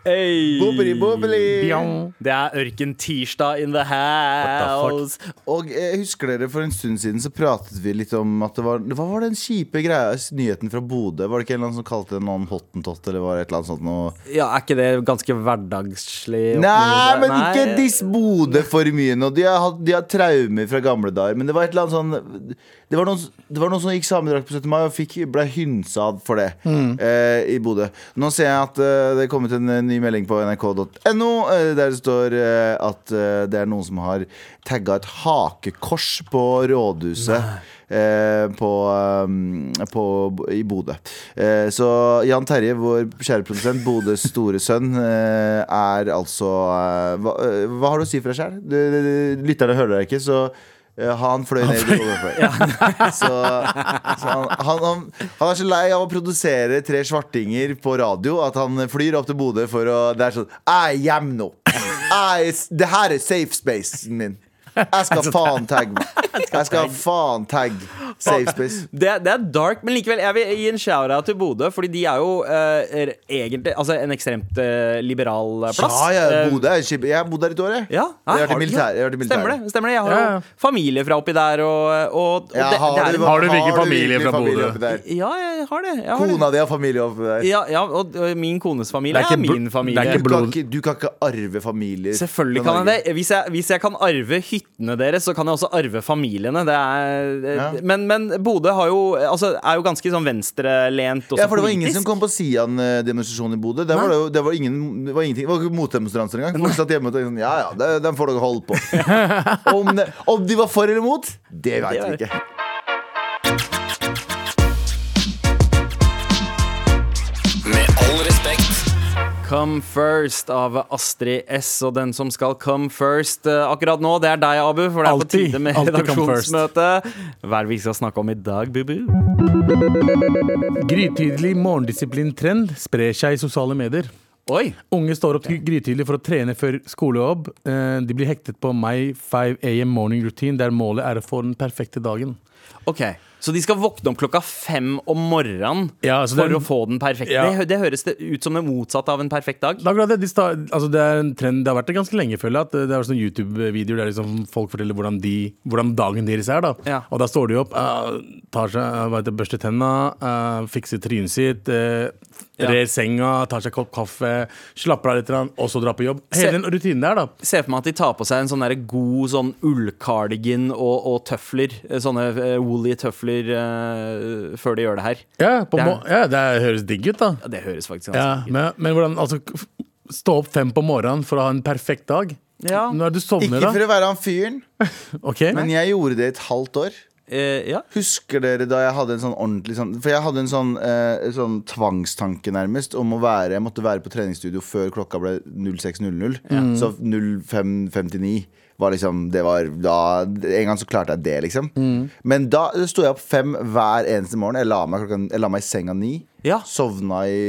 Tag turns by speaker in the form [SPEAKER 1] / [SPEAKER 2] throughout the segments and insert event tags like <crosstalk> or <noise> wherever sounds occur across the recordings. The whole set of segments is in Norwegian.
[SPEAKER 1] Hey.
[SPEAKER 2] Bobbly, bobbly.
[SPEAKER 1] Det er Ørken Tirsdag in the house.
[SPEAKER 2] Og eh, husker dere for en stund siden så pratet vi litt om at det var Hva var den kjipe greia, nyheten fra Bodø? Var det ikke en eller annen som kalte det noen hottentott, eller var det et eller annet sånt noe?
[SPEAKER 1] Ja, Er ikke det ganske hverdagslig?
[SPEAKER 2] Nei, men ikke diss Bodø for mye nå. De har, hatt- de har traumer fra gamle dager. Men det var et eller annet sånn Det var noen, det var noen som gikk samedrakt på 17. mai og fikk, ble hynsa for det eh, i Bodø. Nå ser jeg at eh, det er kommet en eh, ny melding på nrk.no eh, der det står eh, at eh, det er noen som har tagga et hakekors på rådhuset. Eh, på, eh, på, I Bodø. Eh, så Jan Terje, vår kjære produsent, Bodøs store sønn, eh, er altså eh, hva, eh, hva har du å si for deg sjæl? Lytterne hører deg ikke, så eh, han fløy ned i
[SPEAKER 3] <laughs>
[SPEAKER 2] Bodø. Så, så han, han, han, han er så lei av å produsere tre svartinger på radio at han flyr opp til Bodø for å Det er sånn Jeg er hjemme nå. Jeg, er- det her er safe spacen min. Jeg skal
[SPEAKER 3] Altså,
[SPEAKER 2] faen
[SPEAKER 3] <laughs>
[SPEAKER 2] tagge. Jeg skal faen tagge safe space.
[SPEAKER 3] Det, det er dark, men likevel, jeg vil gi en shout-out til Bodø. Fordi de er jo eh, er egentlig altså en ekstremt eh, liberal eh, plass.
[SPEAKER 2] Ja, ja,
[SPEAKER 3] Eh,
[SPEAKER 2] Bodø er kjipt. Jeg har bodd der i et år, jeg.
[SPEAKER 3] ja.
[SPEAKER 2] Jeg har
[SPEAKER 3] Hæ,
[SPEAKER 2] vært i
[SPEAKER 3] du-
[SPEAKER 2] militæret. Jeg har
[SPEAKER 3] Stemmer
[SPEAKER 2] vært i
[SPEAKER 3] det.
[SPEAKER 2] militæret.
[SPEAKER 3] stemmer det Jeg har
[SPEAKER 4] Ja, ja.
[SPEAKER 3] jo familie fra oppi der, og, eh, og, og
[SPEAKER 2] Ja,
[SPEAKER 3] det, det er,
[SPEAKER 2] har, du,
[SPEAKER 4] Har du virkelig
[SPEAKER 2] har
[SPEAKER 4] familie
[SPEAKER 2] virkelig
[SPEAKER 4] fra Bodø?
[SPEAKER 2] oppi der?
[SPEAKER 3] Ja, jeg har det. Jeg har det.
[SPEAKER 2] Kona di har familie oppi der.
[SPEAKER 3] Ja, ja og, og min kones familie
[SPEAKER 4] Det er
[SPEAKER 3] er,
[SPEAKER 4] ikke bl-
[SPEAKER 3] min familie.
[SPEAKER 4] det
[SPEAKER 2] Du
[SPEAKER 4] er
[SPEAKER 2] kan
[SPEAKER 4] ikke blod-
[SPEAKER 2] ikke, du kan ikke arve familier.
[SPEAKER 3] Selvfølgelig
[SPEAKER 2] fra
[SPEAKER 3] kan
[SPEAKER 2] Norge.
[SPEAKER 3] jeg det. Hvis jeg, hvis jeg kan arve hyttene deres, så kan jeg også arve familiene. Det er,
[SPEAKER 2] Ja.
[SPEAKER 3] Men, men Bodø har jo, altså, er jo ganske sånn venstrelent også
[SPEAKER 2] Ja, for det var ingen
[SPEAKER 3] politisk.
[SPEAKER 2] som kom på Sian-demonstrasjonen i Bodø. Der var det, jo, det, var ingen, det var ingenting Det var ikke motdemonstranser engang. Folk satt hjemme og tenkte sånn Ja ja, det, den får dere
[SPEAKER 3] <laughs>
[SPEAKER 2] holde på. om, det, om de var for eller mot, det veit vi
[SPEAKER 3] Det er-
[SPEAKER 2] ikke.
[SPEAKER 3] Come First av Astrid S. Og den som skal come first eh, akkurat nå, det er deg, Abu. For det er på
[SPEAKER 4] Altid.
[SPEAKER 3] tide med
[SPEAKER 4] Altid come first.
[SPEAKER 3] redaksjonsmøte. Hva er det vi skal snakke om i dag, Bubu?
[SPEAKER 4] Grytidlig morgendisiplin-trend sprer seg i sosiale medier.
[SPEAKER 3] Oi!
[SPEAKER 4] Unge står opp grytidlig for å trene før skolejobb. Eh, De blir hektet på My 5 AM morning routine, der målet er å få den perfekte dagen.
[SPEAKER 3] Ok, Så de skal våkne opp klokka fem om morgenen
[SPEAKER 4] Ja, så det
[SPEAKER 3] for
[SPEAKER 4] er-
[SPEAKER 3] å få den perfekte?
[SPEAKER 4] Ja.
[SPEAKER 3] Det, hø- det høres det ut som det motsatte av en perfekt dag.
[SPEAKER 4] Det er, akkurat det, de sta, altså det er en trend, det har vært det ganske lenge, føler jeg. At det er sånne YouTube-videoer der liksom folk forteller hvordan, de, hvordan dagen deres er. Da.
[SPEAKER 3] Ja.
[SPEAKER 4] Og da står de opp, eh, tar seg, eh, hva heter, det, børster tenna, eh, fikser trynet sitt, eh,
[SPEAKER 3] Ja.
[SPEAKER 4] rer senga, tar seg en kopp kaffe, slapper av litt, grann, og så drar på jobb.
[SPEAKER 3] Se-
[SPEAKER 4] Hele den rutinen der, da.
[SPEAKER 3] Se for meg at de tar på seg en sånn der god sånn ullkardigan og, og tøfler. eh, Sånne eh, woolly tøfler eh, før de gjør det her.
[SPEAKER 4] Ja, på
[SPEAKER 3] Det
[SPEAKER 4] det,
[SPEAKER 3] er- Altså,
[SPEAKER 4] må, ja, det er, høres digg ut, da.
[SPEAKER 3] Ja, Det høres faktisk ganske
[SPEAKER 4] Ja, men, men hvordan altså, f- Stå opp fem på morgenen for å ha en perfekt dag?
[SPEAKER 3] Ja.
[SPEAKER 4] Når du sovner,
[SPEAKER 2] Ah, Ikke for
[SPEAKER 4] da?
[SPEAKER 2] å være han fyren,
[SPEAKER 4] Ok?
[SPEAKER 2] men jeg gjorde det i et halvt år.
[SPEAKER 3] Eh, ja.
[SPEAKER 2] Husker dere da jeg hadde en sånn ordentlig sånn For jeg hadde en sånn, eh, sånn tvangstanke nærmest om å være Jeg måtte være på treningsstudio før klokka ble 06.00.
[SPEAKER 3] Mm.
[SPEAKER 2] Så 05.59 var liksom Det var da En gang så klarte jeg det, liksom.
[SPEAKER 3] Mm.
[SPEAKER 2] Men da sto jeg opp fem hver eneste morgen. Jeg la meg, klokka, jeg la meg i senga ni.
[SPEAKER 3] Ja. Mm.
[SPEAKER 2] Sovna i,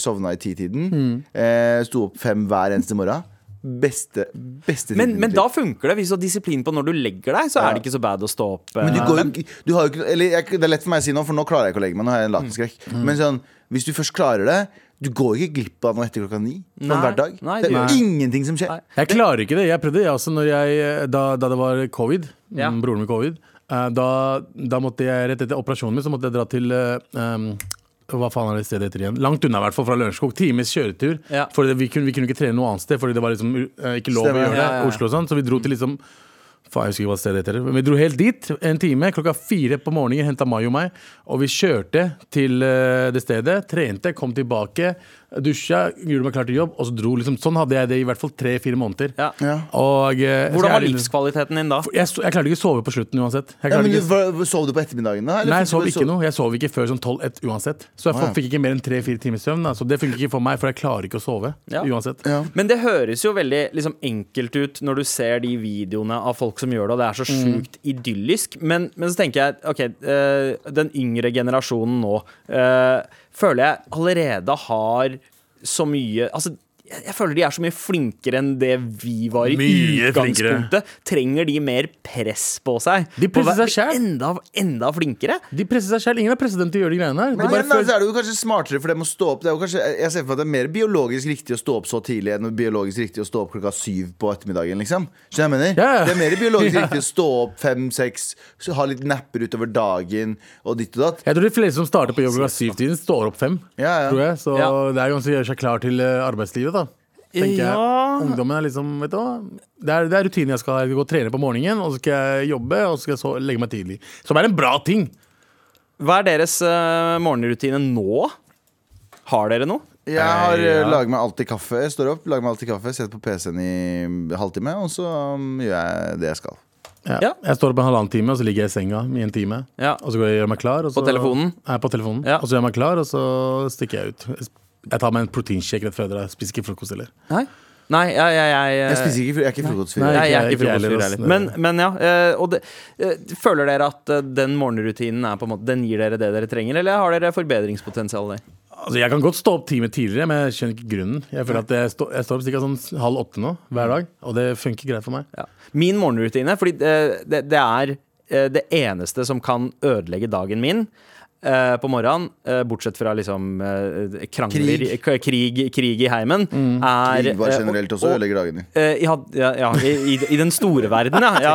[SPEAKER 2] sovna i titiden. Eh, sto opp fem hver eneste morgen. Beste, beste tiden. i
[SPEAKER 3] Men,
[SPEAKER 2] mitt
[SPEAKER 3] men
[SPEAKER 2] liv.
[SPEAKER 3] da funker det. Hvis du har disiplin på når du legger deg, så er det ikke så bad å stå opp. eh.
[SPEAKER 2] Men du går jo ikke, du har jo ikke eller jeg, Det er lett for meg å si nå, for nå klarer jeg ikke å legge meg. Nå har jeg en latenskrekk.
[SPEAKER 4] Mm.
[SPEAKER 2] Men sånn, hvis du først klarer det Du går ikke glipp av noe etter klokka ni. Sånn
[SPEAKER 3] Nei.
[SPEAKER 2] hver dag.
[SPEAKER 3] Nei,
[SPEAKER 2] det
[SPEAKER 3] du
[SPEAKER 2] er
[SPEAKER 3] gjør-
[SPEAKER 2] ingenting som skjer.
[SPEAKER 3] Nei.
[SPEAKER 4] Jeg klarer ikke det. Jeg prøvde jeg også når jeg, eh, da, da det var covid.
[SPEAKER 3] Ja.
[SPEAKER 4] mm, Broren min covid. eh, Da, da måtte jeg rett etter operasjonen min Så måtte jeg dra til eh, um, hva faen er det stedet heter igjen? Langt unna, i hvert fall fra Lørenskog. Times kjøretur.
[SPEAKER 3] Ja.
[SPEAKER 4] For det, vi, kunne, vi kunne ikke trene noe annet sted, Fordi det var liksom eh, ikke lov
[SPEAKER 2] Stemmer.
[SPEAKER 4] å gjøre det.
[SPEAKER 3] Ja, ja, ja.
[SPEAKER 4] Oslo og sånn Så vi dro til liksom Faen, jeg husker ikke hva stedet heter. Men vi dro helt dit en time. Klokka fire på morgenen henta Mayo meg. Og vi kjørte til eh, det stedet. Trente, kom tilbake, dusja, gjorde meg klar til jobb, og så dro liksom Sånn hadde jeg det i hvert fall tre-fire måneder.
[SPEAKER 3] Ja.
[SPEAKER 2] Ja.
[SPEAKER 4] Og, eh,
[SPEAKER 3] Hvordan var
[SPEAKER 4] jeg-
[SPEAKER 3] livskvaliteten din da?
[SPEAKER 4] Jeg, so- jeg klarte ikke å sove på slutten uansett. Jeg
[SPEAKER 2] Ja,
[SPEAKER 4] klarte
[SPEAKER 2] men du,
[SPEAKER 4] ikke,
[SPEAKER 2] hva- Sov du på ettermiddagen, da?
[SPEAKER 4] nei, jeg
[SPEAKER 2] fikk
[SPEAKER 4] sov
[SPEAKER 2] du bare
[SPEAKER 4] ikke noe. Jeg sov ikke før sånn 12-1 uansett. Så jeg
[SPEAKER 2] Å, ja.
[SPEAKER 4] fikk ikke mer enn tre-fire timers søvn. Da. Så det funker ikke for meg, for jeg klarer ikke å sove
[SPEAKER 3] Ja.
[SPEAKER 4] uansett.
[SPEAKER 2] Ja.
[SPEAKER 3] Men det høres jo veldig liksom, enkelt ut når du ser de videoene av folk som gjør det, og det er så sjukt idyllisk. Men, men så tenker jeg, ok, eh, den yngre generasjonen nå eh, føler jeg allerede har så mye Altså, jeg, jeg føler de er så mye flinkere enn det vi var i
[SPEAKER 4] Mye
[SPEAKER 3] utgangspunktet. Trenger de mer press på seg?
[SPEAKER 4] De presser
[SPEAKER 3] Å være-
[SPEAKER 4] seg selv.
[SPEAKER 3] Enda, enda flinkere?
[SPEAKER 4] De presser seg selv. Ingen er president til å gjøre de greiene her. De
[SPEAKER 2] Men altså,
[SPEAKER 4] bare
[SPEAKER 2] igjen, da,
[SPEAKER 4] føler-
[SPEAKER 2] så er det jo kanskje smartere for dem å stå opp. Det er jo kanskje, jeg ser for meg at det er mer biologisk riktig å stå opp så tidlig enn biologisk riktig å stå opp klokka syv på ettermiddagen. liksom Skjønner du hva jeg mener?
[SPEAKER 4] Ja, ja.
[SPEAKER 2] Det er mer biologisk
[SPEAKER 4] <laughs>
[SPEAKER 2] riktig å stå opp fem-seks, ha litt napper utover dagen og ditt og datt.
[SPEAKER 4] Jeg tror de fleste som starter på jobb klokka syv-tiden, står opp fem.
[SPEAKER 2] sånn. Ja, ja.
[SPEAKER 4] Tror jeg. Så
[SPEAKER 3] Ja.
[SPEAKER 4] det er ganske å gjøre seg klar til eh, arbeidslivet, da. Tenker
[SPEAKER 3] Ja.
[SPEAKER 4] jeg. Ungdommen er liksom vet du hva? Det er, det er rutinen jeg skal ha. Jeg skal gå og trene på morgenen, og så skal jeg jobbe, og så skal jeg så legge meg tidlig. Som er en bra ting.
[SPEAKER 3] Hva er deres eh, morgenrutine nå? Har dere noe?
[SPEAKER 2] Jeg har
[SPEAKER 4] Eh, ja.
[SPEAKER 2] eh, lager meg alltid kaffe. Jeg står opp, lager meg alltid kaffe, setter på PC-en i mm, halvtime, og så um, gjør jeg det jeg skal.
[SPEAKER 4] Ja.
[SPEAKER 3] Ja.
[SPEAKER 4] Jeg står opp en halvannen time, og så ligger jeg i senga i en time.
[SPEAKER 3] Ja.
[SPEAKER 4] Og så går jeg og gjør meg klar. Og så,
[SPEAKER 3] På telefonen?
[SPEAKER 4] Nei, på telefonen.
[SPEAKER 3] Ja.
[SPEAKER 4] Og så gjør jeg meg klar, og så stikker jeg ut. Jeg tar meg en proteinshake rett før jeg drar. Spiser ikke frokost heller.
[SPEAKER 3] Nei, Nei jeg, jeg, jeg, eh,
[SPEAKER 2] Jeg spiser ikke, fro- jeg er ikke frokostfri.
[SPEAKER 4] Nei.
[SPEAKER 3] Nei, jeg er
[SPEAKER 4] ikke-
[SPEAKER 3] ikke
[SPEAKER 4] ikke heller,
[SPEAKER 3] frokostfyr
[SPEAKER 4] ass.
[SPEAKER 3] heller. Men, men ja. eh, Og det, eh, føler dere at eh, den morgenrutinen er på en måte, den gir dere det dere trenger, eller har dere forbedringspotensial der?
[SPEAKER 4] Altså, jeg kan godt stå opp timer tidligere, men jeg skjønner ikke grunnen. Jeg føler at jeg, stå, jeg står opp cirka sånn halv åtte nå hver dag, og det funker greit for meg.
[SPEAKER 3] Ja. Min morgenrutine, fordi eh, det, det er eh, det eneste som kan ødelegge dagen min eh, på morgenen, eh, bortsett fra liksom eh, krangler,
[SPEAKER 2] Krig.
[SPEAKER 3] k- krig, krig i heimen, er
[SPEAKER 2] Krig bare
[SPEAKER 3] eh,
[SPEAKER 2] generelt
[SPEAKER 3] og-
[SPEAKER 2] også
[SPEAKER 3] og-
[SPEAKER 2] ødelegger dagen din.
[SPEAKER 3] Eh, ja, ja, ja i, i, i den store verden, ja.
[SPEAKER 2] <laughs>
[SPEAKER 3] ja.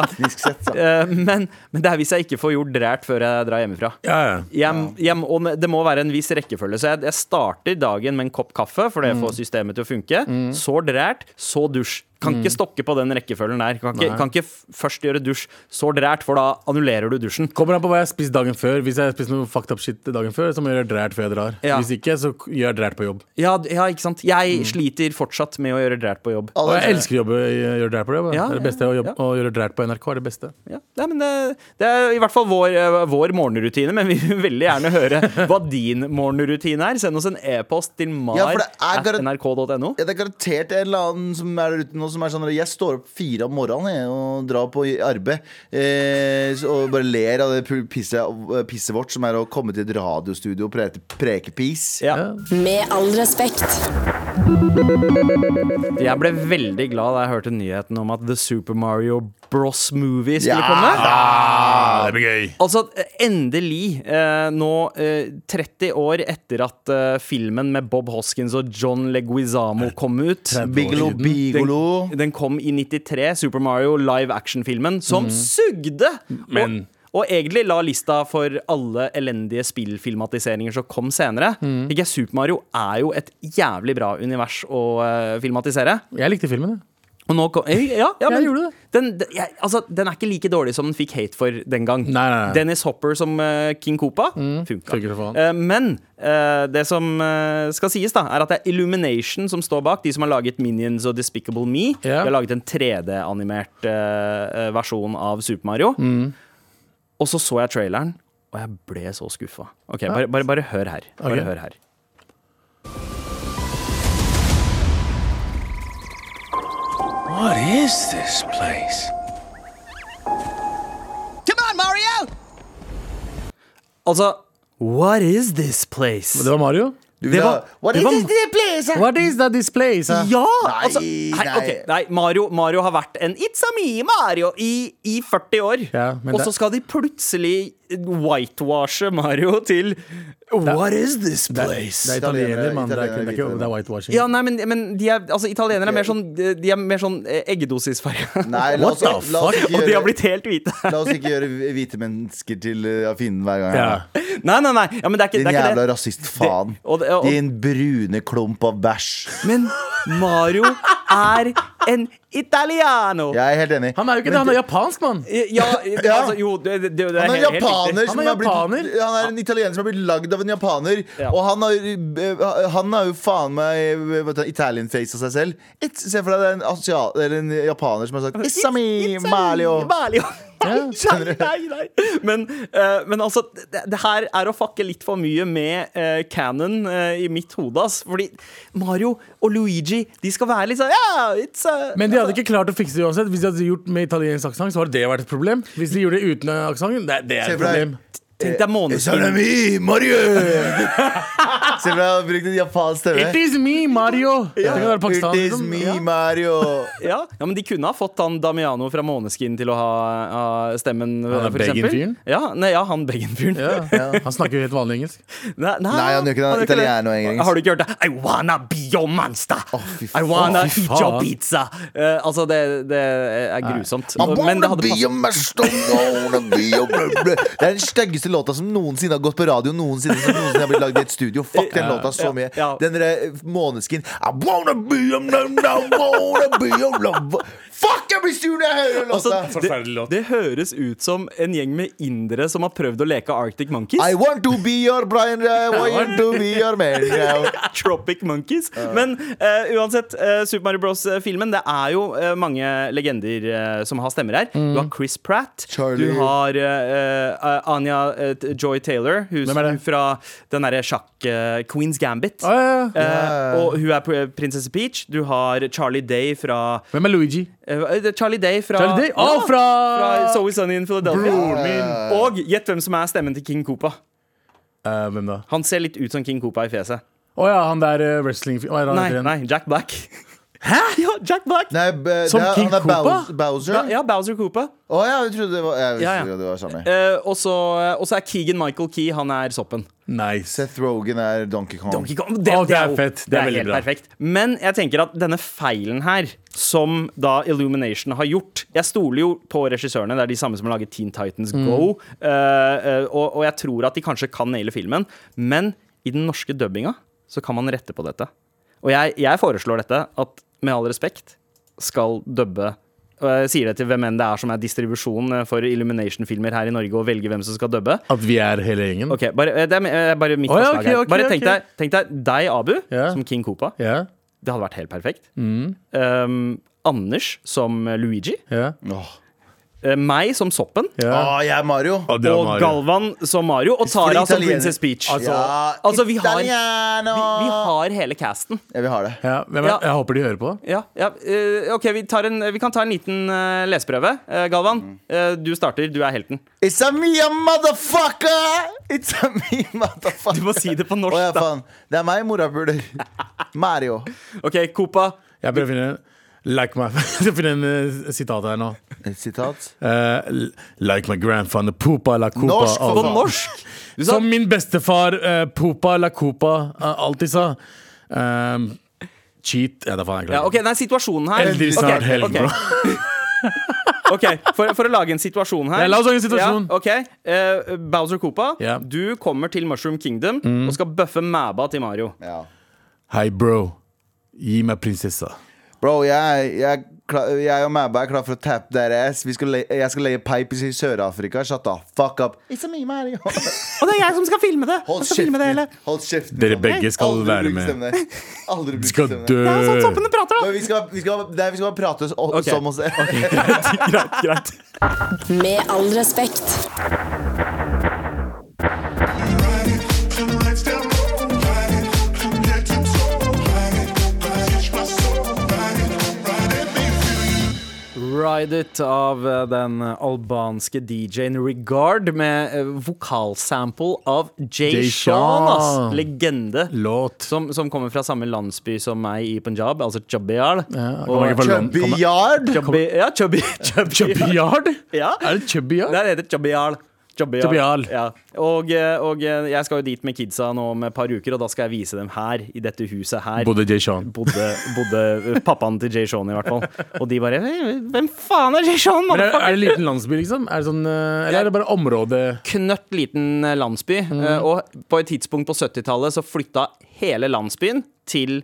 [SPEAKER 3] Eh, men, men det er hvis jeg ikke får gjort drært før jeg drar hjemmefra.
[SPEAKER 4] Ja, ja.
[SPEAKER 3] Jeg, jeg, og det må være en viss rekkefølge. Så jeg, jeg starter dagen med en kopp kaffe, for det får systemet til å funke. Så drært, så dusj. Kan ikke stokke på den rekkefølgen der. Kan ikke, kan ikke f- først gjøre dusj, så drært, for da annullerer du dusjen.
[SPEAKER 4] Kommer an på hva jeg har spist dagen før. Hvis jeg har spist noe fucked up shit dagen før, så må jeg gjøre drært før jeg drar.
[SPEAKER 3] Ja.
[SPEAKER 4] Hvis ikke, så gjør jeg drært på jobb.
[SPEAKER 3] Ja, d- ja ikke sant? Jeg sliter fortsatt med å gjøre drært på jobb.
[SPEAKER 4] Og
[SPEAKER 2] sånn,
[SPEAKER 4] jeg elsker å jobbe, eh, gjøre drært på jobb.
[SPEAKER 3] Ja,
[SPEAKER 4] det er det beste å, jobbe,
[SPEAKER 3] ja.
[SPEAKER 4] å gjøre drært på NRK er det beste.
[SPEAKER 3] Ja, nei, men det, det er i hvert fall vår, eh, vår morgenrutine, men vi vil veldig gjerne høre hva din morgenrutine er. Send oss en e-post til
[SPEAKER 2] Ja, for det er gar-
[SPEAKER 3] mar.nrk.no.
[SPEAKER 2] Ja, det er garantert en eller annen som er der ute nå som er sånn Jeg står opp fire om morgenen jeg, og drar på arbeid eh, så- og bare ler av det pu- pisset eh, pisset vårt som er å komme til et radiostudio og preke, preke piss.
[SPEAKER 3] Ja.
[SPEAKER 5] Med all respekt.
[SPEAKER 3] Jeg ble veldig glad da jeg hørte nyheten om at The Super Mario Bros. Movie skulle
[SPEAKER 2] Ja,
[SPEAKER 3] komme.
[SPEAKER 4] det blir gøy.
[SPEAKER 3] Altså, endelig, eh, nå eh, 30 år etter at eh, filmen med Bob Hoskins og John Leguizamo kom ut
[SPEAKER 2] Biggelo Bigolo.
[SPEAKER 3] Den, den kom i 93, Super Mario live action-filmen, som sugde!
[SPEAKER 4] Men-
[SPEAKER 3] og, og egentlig la lista for alle elendige spillfilmatiseringer som kom senere. Ikke, Super Mario er jo et jævlig bra univers å eh, filmatisere.
[SPEAKER 4] Jeg likte filmen, jeg.
[SPEAKER 3] Og nå kom, eh, ja, ja,
[SPEAKER 4] Jeg
[SPEAKER 3] men,
[SPEAKER 4] gjorde det.
[SPEAKER 3] Den, den- jeg, altså, den er ikke like dårlig som den fikk hate for den gang.
[SPEAKER 4] Nei, nei, nei.
[SPEAKER 3] Dennis Hopper som eh, King Koopa funka.
[SPEAKER 4] funker for faen.
[SPEAKER 3] Eh, men eh, det som eh, skal sies, da er at det er Illumination som står bak. De som har laget Minions og Despicable Me.
[SPEAKER 4] Ja.
[SPEAKER 3] De har laget en 3D-animert eh, eh, versjon av Super Mario.
[SPEAKER 4] Mm.
[SPEAKER 3] Og så så jeg traileren, og jeg ble så skuffa. Ok, bare, bare, bare hør her. Bare
[SPEAKER 4] Ok.
[SPEAKER 3] hør her.
[SPEAKER 6] What is this place?
[SPEAKER 3] Altså, what is this place?
[SPEAKER 4] Det var Mario.
[SPEAKER 2] Du vil
[SPEAKER 3] det
[SPEAKER 2] ha
[SPEAKER 3] var-
[SPEAKER 2] What
[SPEAKER 3] det
[SPEAKER 2] is
[SPEAKER 3] var-
[SPEAKER 2] this place?
[SPEAKER 4] What is that display? sa?
[SPEAKER 3] Ja!
[SPEAKER 2] Nei,
[SPEAKER 3] altså, nei,
[SPEAKER 2] nei.
[SPEAKER 3] ok, nei Mario, Mario har vært en It's a me, Mario i, i 40 år.
[SPEAKER 4] Ja, men
[SPEAKER 3] og så
[SPEAKER 4] det-
[SPEAKER 3] skal de plutselig whitewashe Mario til What is this
[SPEAKER 4] Det
[SPEAKER 3] place?
[SPEAKER 4] er italiener, mann. Det er
[SPEAKER 2] Italiener,
[SPEAKER 4] ikke- det er ikke-
[SPEAKER 2] italiener.
[SPEAKER 4] det er whitewashing.
[SPEAKER 3] Ja, nei, men, men de er, altså, italienere er mer sånn De er mer sånn eh, eggedosisfarge.
[SPEAKER 2] Nei, la oss,
[SPEAKER 4] What the
[SPEAKER 2] la oss
[SPEAKER 4] fuck?
[SPEAKER 2] ikke
[SPEAKER 3] Og de har
[SPEAKER 2] gjøre
[SPEAKER 3] blitt helt hvite.
[SPEAKER 2] La oss ikke gjøre hvite mennesker til eh, av fienden hver gang.
[SPEAKER 4] Ja.
[SPEAKER 3] <laughs> Nei, nei, nei. Ja, men det er ikke
[SPEAKER 2] Din
[SPEAKER 3] det. Er
[SPEAKER 2] jævla
[SPEAKER 3] ikke det.
[SPEAKER 2] rasistfaen.
[SPEAKER 3] Det- og det- og-
[SPEAKER 2] Din brune klump av bæsj.
[SPEAKER 3] Men Mario er en italiano.
[SPEAKER 2] Jeg er helt enig.
[SPEAKER 4] Han er jo ikke det, han er japansk, mann.
[SPEAKER 3] Ja, altså, jo, det, det, det, det er
[SPEAKER 2] Han er
[SPEAKER 3] helt, helt riktig.
[SPEAKER 2] japaner. som
[SPEAKER 4] Han er
[SPEAKER 2] har blitt,
[SPEAKER 4] japaner.
[SPEAKER 2] han er en italiener som har blitt lagd av en japaner.
[SPEAKER 3] Ja.
[SPEAKER 2] Og han har, eh, han har jo faen meg eh, vet du, Italian face av seg selv. It's, se for deg det er en, asia, eller en japaner som har sagt It's a me, Mario. <laughs>
[SPEAKER 3] Nei, nei, nei, nei. Men, eh, men altså, det, det her er å fucke litt for mye med eh, canon eh, i mitt hode, ass. Fordi Mario og Luigi, de skal være litt sånn Ja, it's a
[SPEAKER 4] Men de hadde ikke klart å fikse det uansett. Hvis de hadde gjort med italiensk aksent, så hadde det vært et problem. Hvis de gjorde det uten aksent, det, det er
[SPEAKER 2] Se
[SPEAKER 4] et
[SPEAKER 2] for
[SPEAKER 4] problem.
[SPEAKER 2] deg
[SPEAKER 3] Tenk deg
[SPEAKER 2] Eh,
[SPEAKER 3] måneskin.
[SPEAKER 2] Salami, Mario! Se for deg å bruke en japansk
[SPEAKER 4] It
[SPEAKER 2] stemme.
[SPEAKER 4] is me, Mario! Det kan være pakistaner.
[SPEAKER 2] It is
[SPEAKER 4] liksom.
[SPEAKER 2] me,
[SPEAKER 4] Ja.
[SPEAKER 2] Mario.
[SPEAKER 3] Ja, ja, men De kunne ha fått han Damiano fra Måneskin til å ha, ha stemmen.
[SPEAKER 4] er
[SPEAKER 3] for eksempel.
[SPEAKER 4] Beggen-fyren?
[SPEAKER 3] Ja, nei, ja, han Beggen-fyren.
[SPEAKER 4] Ja, ja. Han snakker jo helt vanlig engelsk.
[SPEAKER 3] Nei,
[SPEAKER 2] Nei, han gjør ikke det.
[SPEAKER 3] han
[SPEAKER 2] Italiener og engelsk.
[SPEAKER 3] Har du ikke hørt det? I wanna be your monster.
[SPEAKER 2] fy
[SPEAKER 3] I wanna
[SPEAKER 4] Å, fy
[SPEAKER 3] eat your
[SPEAKER 4] faen.
[SPEAKER 3] pizza. Eh, altså, det, det er grusomt.
[SPEAKER 2] I
[SPEAKER 3] Men det
[SPEAKER 2] wanna
[SPEAKER 3] hadde
[SPEAKER 2] be
[SPEAKER 3] passet.
[SPEAKER 2] a master, wanna be a blah, blah. Det er den styggeste låta som noensinne har gått på radio. Noensinne som noensinne har blitt lagd i et studio. Fuck den låta så mye.
[SPEAKER 3] ja.
[SPEAKER 2] Den derre måneskin I wanna be a blah, blah, wanna be a blah, blah. Fuck, jeg blir sur når jeg hører den låta!
[SPEAKER 3] Altså,
[SPEAKER 4] Forferdelig
[SPEAKER 3] det,
[SPEAKER 4] låt.
[SPEAKER 3] det høres ut som en gjeng med indere som har prøvd å leke Arctic Monkeys.
[SPEAKER 2] I want to be your Brian I want to be your man
[SPEAKER 3] Tropic Monkeys. Men eh, uansett, eh, Super Mario Bros-filmen Det er jo eh, mange legender eh, som har stemmer her. Du
[SPEAKER 4] Mm.
[SPEAKER 3] har Chris Pratt.
[SPEAKER 2] Charlie.
[SPEAKER 3] Du har eh, eh, Anja eh, T- Joy Taylor, hun
[SPEAKER 4] Hvem er
[SPEAKER 3] som-
[SPEAKER 4] det?
[SPEAKER 3] fra den derre sjakk eh, Queens Gambit.
[SPEAKER 4] Å, ja, ja.
[SPEAKER 3] Eh, og hun er pr- prinsesse Peach. Du har Charlie Day fra
[SPEAKER 4] Hvem er Luigi?
[SPEAKER 3] eh, det er Charlie Day fra
[SPEAKER 4] Charlie Day? Å,
[SPEAKER 3] Ja,
[SPEAKER 4] fra-
[SPEAKER 3] fra So Is Sunny in Philadelphia.
[SPEAKER 4] Broren min.
[SPEAKER 3] Og gjett hvem som er stemmen til King Koopa.
[SPEAKER 4] Eh, hvem da?
[SPEAKER 3] Han ser litt ut som King Koopa i fjeset.
[SPEAKER 4] Å ja, han der eh, wrestling... Hva er det han
[SPEAKER 3] Nei,
[SPEAKER 4] heter igjen?
[SPEAKER 3] nei, Jack Black. <laughs> Hæ? Ja, Jack Black.
[SPEAKER 2] Nei, b-
[SPEAKER 4] Som
[SPEAKER 2] det er,
[SPEAKER 4] King
[SPEAKER 2] han er Bows-
[SPEAKER 4] Koopa?
[SPEAKER 2] Bowser.
[SPEAKER 3] Ja, Bowser Koopa.
[SPEAKER 2] Å ja, jeg trodde det var Jeg visste
[SPEAKER 3] Ja, ja.
[SPEAKER 2] ikke at det var samme.
[SPEAKER 3] Eh, og så og så er Keegan Michael Key Han er soppen.
[SPEAKER 4] Nice.
[SPEAKER 2] Seth Rogan er Donkey Kong.
[SPEAKER 3] Donkey Kong,
[SPEAKER 4] Å, det er
[SPEAKER 3] jo-
[SPEAKER 4] fett. Det er veldig
[SPEAKER 3] helt
[SPEAKER 4] bra.
[SPEAKER 3] perfekt. Men jeg tenker at denne feilen her, som da Illumination har gjort Jeg stoler jo på regissørene. Det er de samme som har laget Teen Titans
[SPEAKER 4] Mm.
[SPEAKER 3] Go. eh, eh, og, og jeg tror at de kanskje kan naile filmen. Men i den norske dubbinga så kan man rette på dette. Og jeg, jeg foreslår dette at med all respekt skal dubbe og jeg sier det til hvem enn det er som er distribusjon eh, for Illumination-filmer her i Norge, og velge hvem som skal dubbe.
[SPEAKER 4] At vi er hele gjengen?
[SPEAKER 3] Ok, bare, eh, det er eh, bare mitt
[SPEAKER 4] Å, ja,
[SPEAKER 3] forslag
[SPEAKER 4] ok,
[SPEAKER 3] her.
[SPEAKER 4] ok,
[SPEAKER 3] bare tenk,
[SPEAKER 4] ok.
[SPEAKER 3] Deg, tenk deg deg, Abu,
[SPEAKER 4] Ja. Mm.
[SPEAKER 3] som King Koopa.
[SPEAKER 4] Ja,
[SPEAKER 3] Det hadde vært helt perfekt. Um, Anders som Luigi.
[SPEAKER 4] ja,
[SPEAKER 2] Åh.
[SPEAKER 3] Eh, meg som Soppen.
[SPEAKER 4] ja.
[SPEAKER 2] Å, jeg er Mario.
[SPEAKER 4] Å, det var
[SPEAKER 3] Og
[SPEAKER 4] Mario.
[SPEAKER 3] Galvan som Mario. Og
[SPEAKER 2] Fordi
[SPEAKER 3] Tara som
[SPEAKER 2] italiener-
[SPEAKER 3] Princess Peach.
[SPEAKER 2] Altså, ja,
[SPEAKER 3] altså, vi har-
[SPEAKER 2] Italiano.
[SPEAKER 3] Vi, vi har hele casten.
[SPEAKER 2] Ja, vi har det.
[SPEAKER 4] Ja, hvem er,
[SPEAKER 3] Ja.
[SPEAKER 4] Jeg håper de hører på.
[SPEAKER 3] Ja, ja, eh, ok, vi, tar en, vi kan ta en liten eh, leseprøve. Eh, Galvan, eh, du starter. Du er helten.
[SPEAKER 2] It's a me, a motherfucker! It's a me, motherfucker.
[SPEAKER 3] Du må si det på norsk,
[SPEAKER 2] Å, ja,
[SPEAKER 3] da.
[SPEAKER 2] faen. Det er meg, morapuler. Mario.
[SPEAKER 3] OK, Koopa.
[SPEAKER 4] Jeg prøver å finne Like my <laughs> Jeg finner en eh, sitat her nå.
[SPEAKER 2] Et sitat.
[SPEAKER 4] Eh, l- like my grandfather Poopa la Coopa
[SPEAKER 2] Norsk, for
[SPEAKER 4] alltid-
[SPEAKER 3] På
[SPEAKER 2] faen.
[SPEAKER 3] norsk! Du sa
[SPEAKER 4] Som min bestefar eh, Poopa la Coopa eh, alltid sa. Ehm, cheat Ja, da faen, jeg
[SPEAKER 3] ja,
[SPEAKER 4] klarer
[SPEAKER 3] OK, nei, situasjonen her.
[SPEAKER 4] Eldre snart helg,
[SPEAKER 3] ok.
[SPEAKER 4] bro.
[SPEAKER 3] Ok, for, for å lage en situasjon her
[SPEAKER 4] Ja, la oss lage en situasjon.
[SPEAKER 3] ja, ok. Eh, Bowser Koopa,
[SPEAKER 4] Ja. Mm.
[SPEAKER 3] du kommer til Mushroom Kingdom Og skal bøffe mæba til Mario
[SPEAKER 2] Ja.
[SPEAKER 4] Hei, bro. Gi meg prinsessa.
[SPEAKER 2] Bro, jeg, jeg, kla- jeg og Mabba er klar for å tappe their ass. Vi skal le, jeg skal leie pipe i Sør-Afrika. Shut the fuck up. It's a me, Mario.
[SPEAKER 3] Og det er jeg som skal filme det
[SPEAKER 2] Hold kjeften. din. Hold kjeften.
[SPEAKER 4] Dere
[SPEAKER 2] din, mann.
[SPEAKER 4] begge skal
[SPEAKER 2] Aldri
[SPEAKER 4] være
[SPEAKER 2] bruk
[SPEAKER 4] med.
[SPEAKER 2] stemmene. Aldri bruk
[SPEAKER 4] Skal
[SPEAKER 2] stemmene.
[SPEAKER 4] dø.
[SPEAKER 3] sånn, prater
[SPEAKER 2] Men vi skal, vi, skal, nei, vi skal bare prate oss,
[SPEAKER 3] Ok.
[SPEAKER 2] som oss selv.
[SPEAKER 3] Greit, greit
[SPEAKER 5] Med all respekt.
[SPEAKER 3] Ride It av eh, den albanske DJ-en Regard Med eh, vokalsample av Jay,
[SPEAKER 4] Jay
[SPEAKER 3] Sean
[SPEAKER 4] Sean.
[SPEAKER 3] ass. Legende
[SPEAKER 4] Låt.
[SPEAKER 3] som, som kommer fra samme landsby som meg i Punjab Altså Chabiar
[SPEAKER 4] Ja, kommer ikke fra London.
[SPEAKER 2] Chubby
[SPEAKER 4] Kommer-
[SPEAKER 2] Yard.
[SPEAKER 3] Ja, Chubby <laughs>
[SPEAKER 4] Chubby Yard?
[SPEAKER 3] Ja
[SPEAKER 4] Er det Chubby Yard?
[SPEAKER 3] Nei, det heter Chabial. Chabial.
[SPEAKER 4] Chabial.
[SPEAKER 3] Ja. Og, eh, og eh, jeg skal jo dit med kidsa nå om et par uker, og da skal jeg vise dem her, i dette huset her.
[SPEAKER 4] Bodde Jay Sean.
[SPEAKER 3] Bodde, bodde eh, pappaen til Jay Sean, i hvert fall. Og de bare «Hey, Hvem faen er Jay Sean,
[SPEAKER 4] Men er,
[SPEAKER 3] motherfucker?
[SPEAKER 4] er det en liten landsby, liksom? Er det sånn, eh, eller er det bare område
[SPEAKER 3] Knøtt liten eh, landsby.
[SPEAKER 4] Mm.
[SPEAKER 3] eh, Og på et tidspunkt på 70-tallet så flytta hele landsbyen til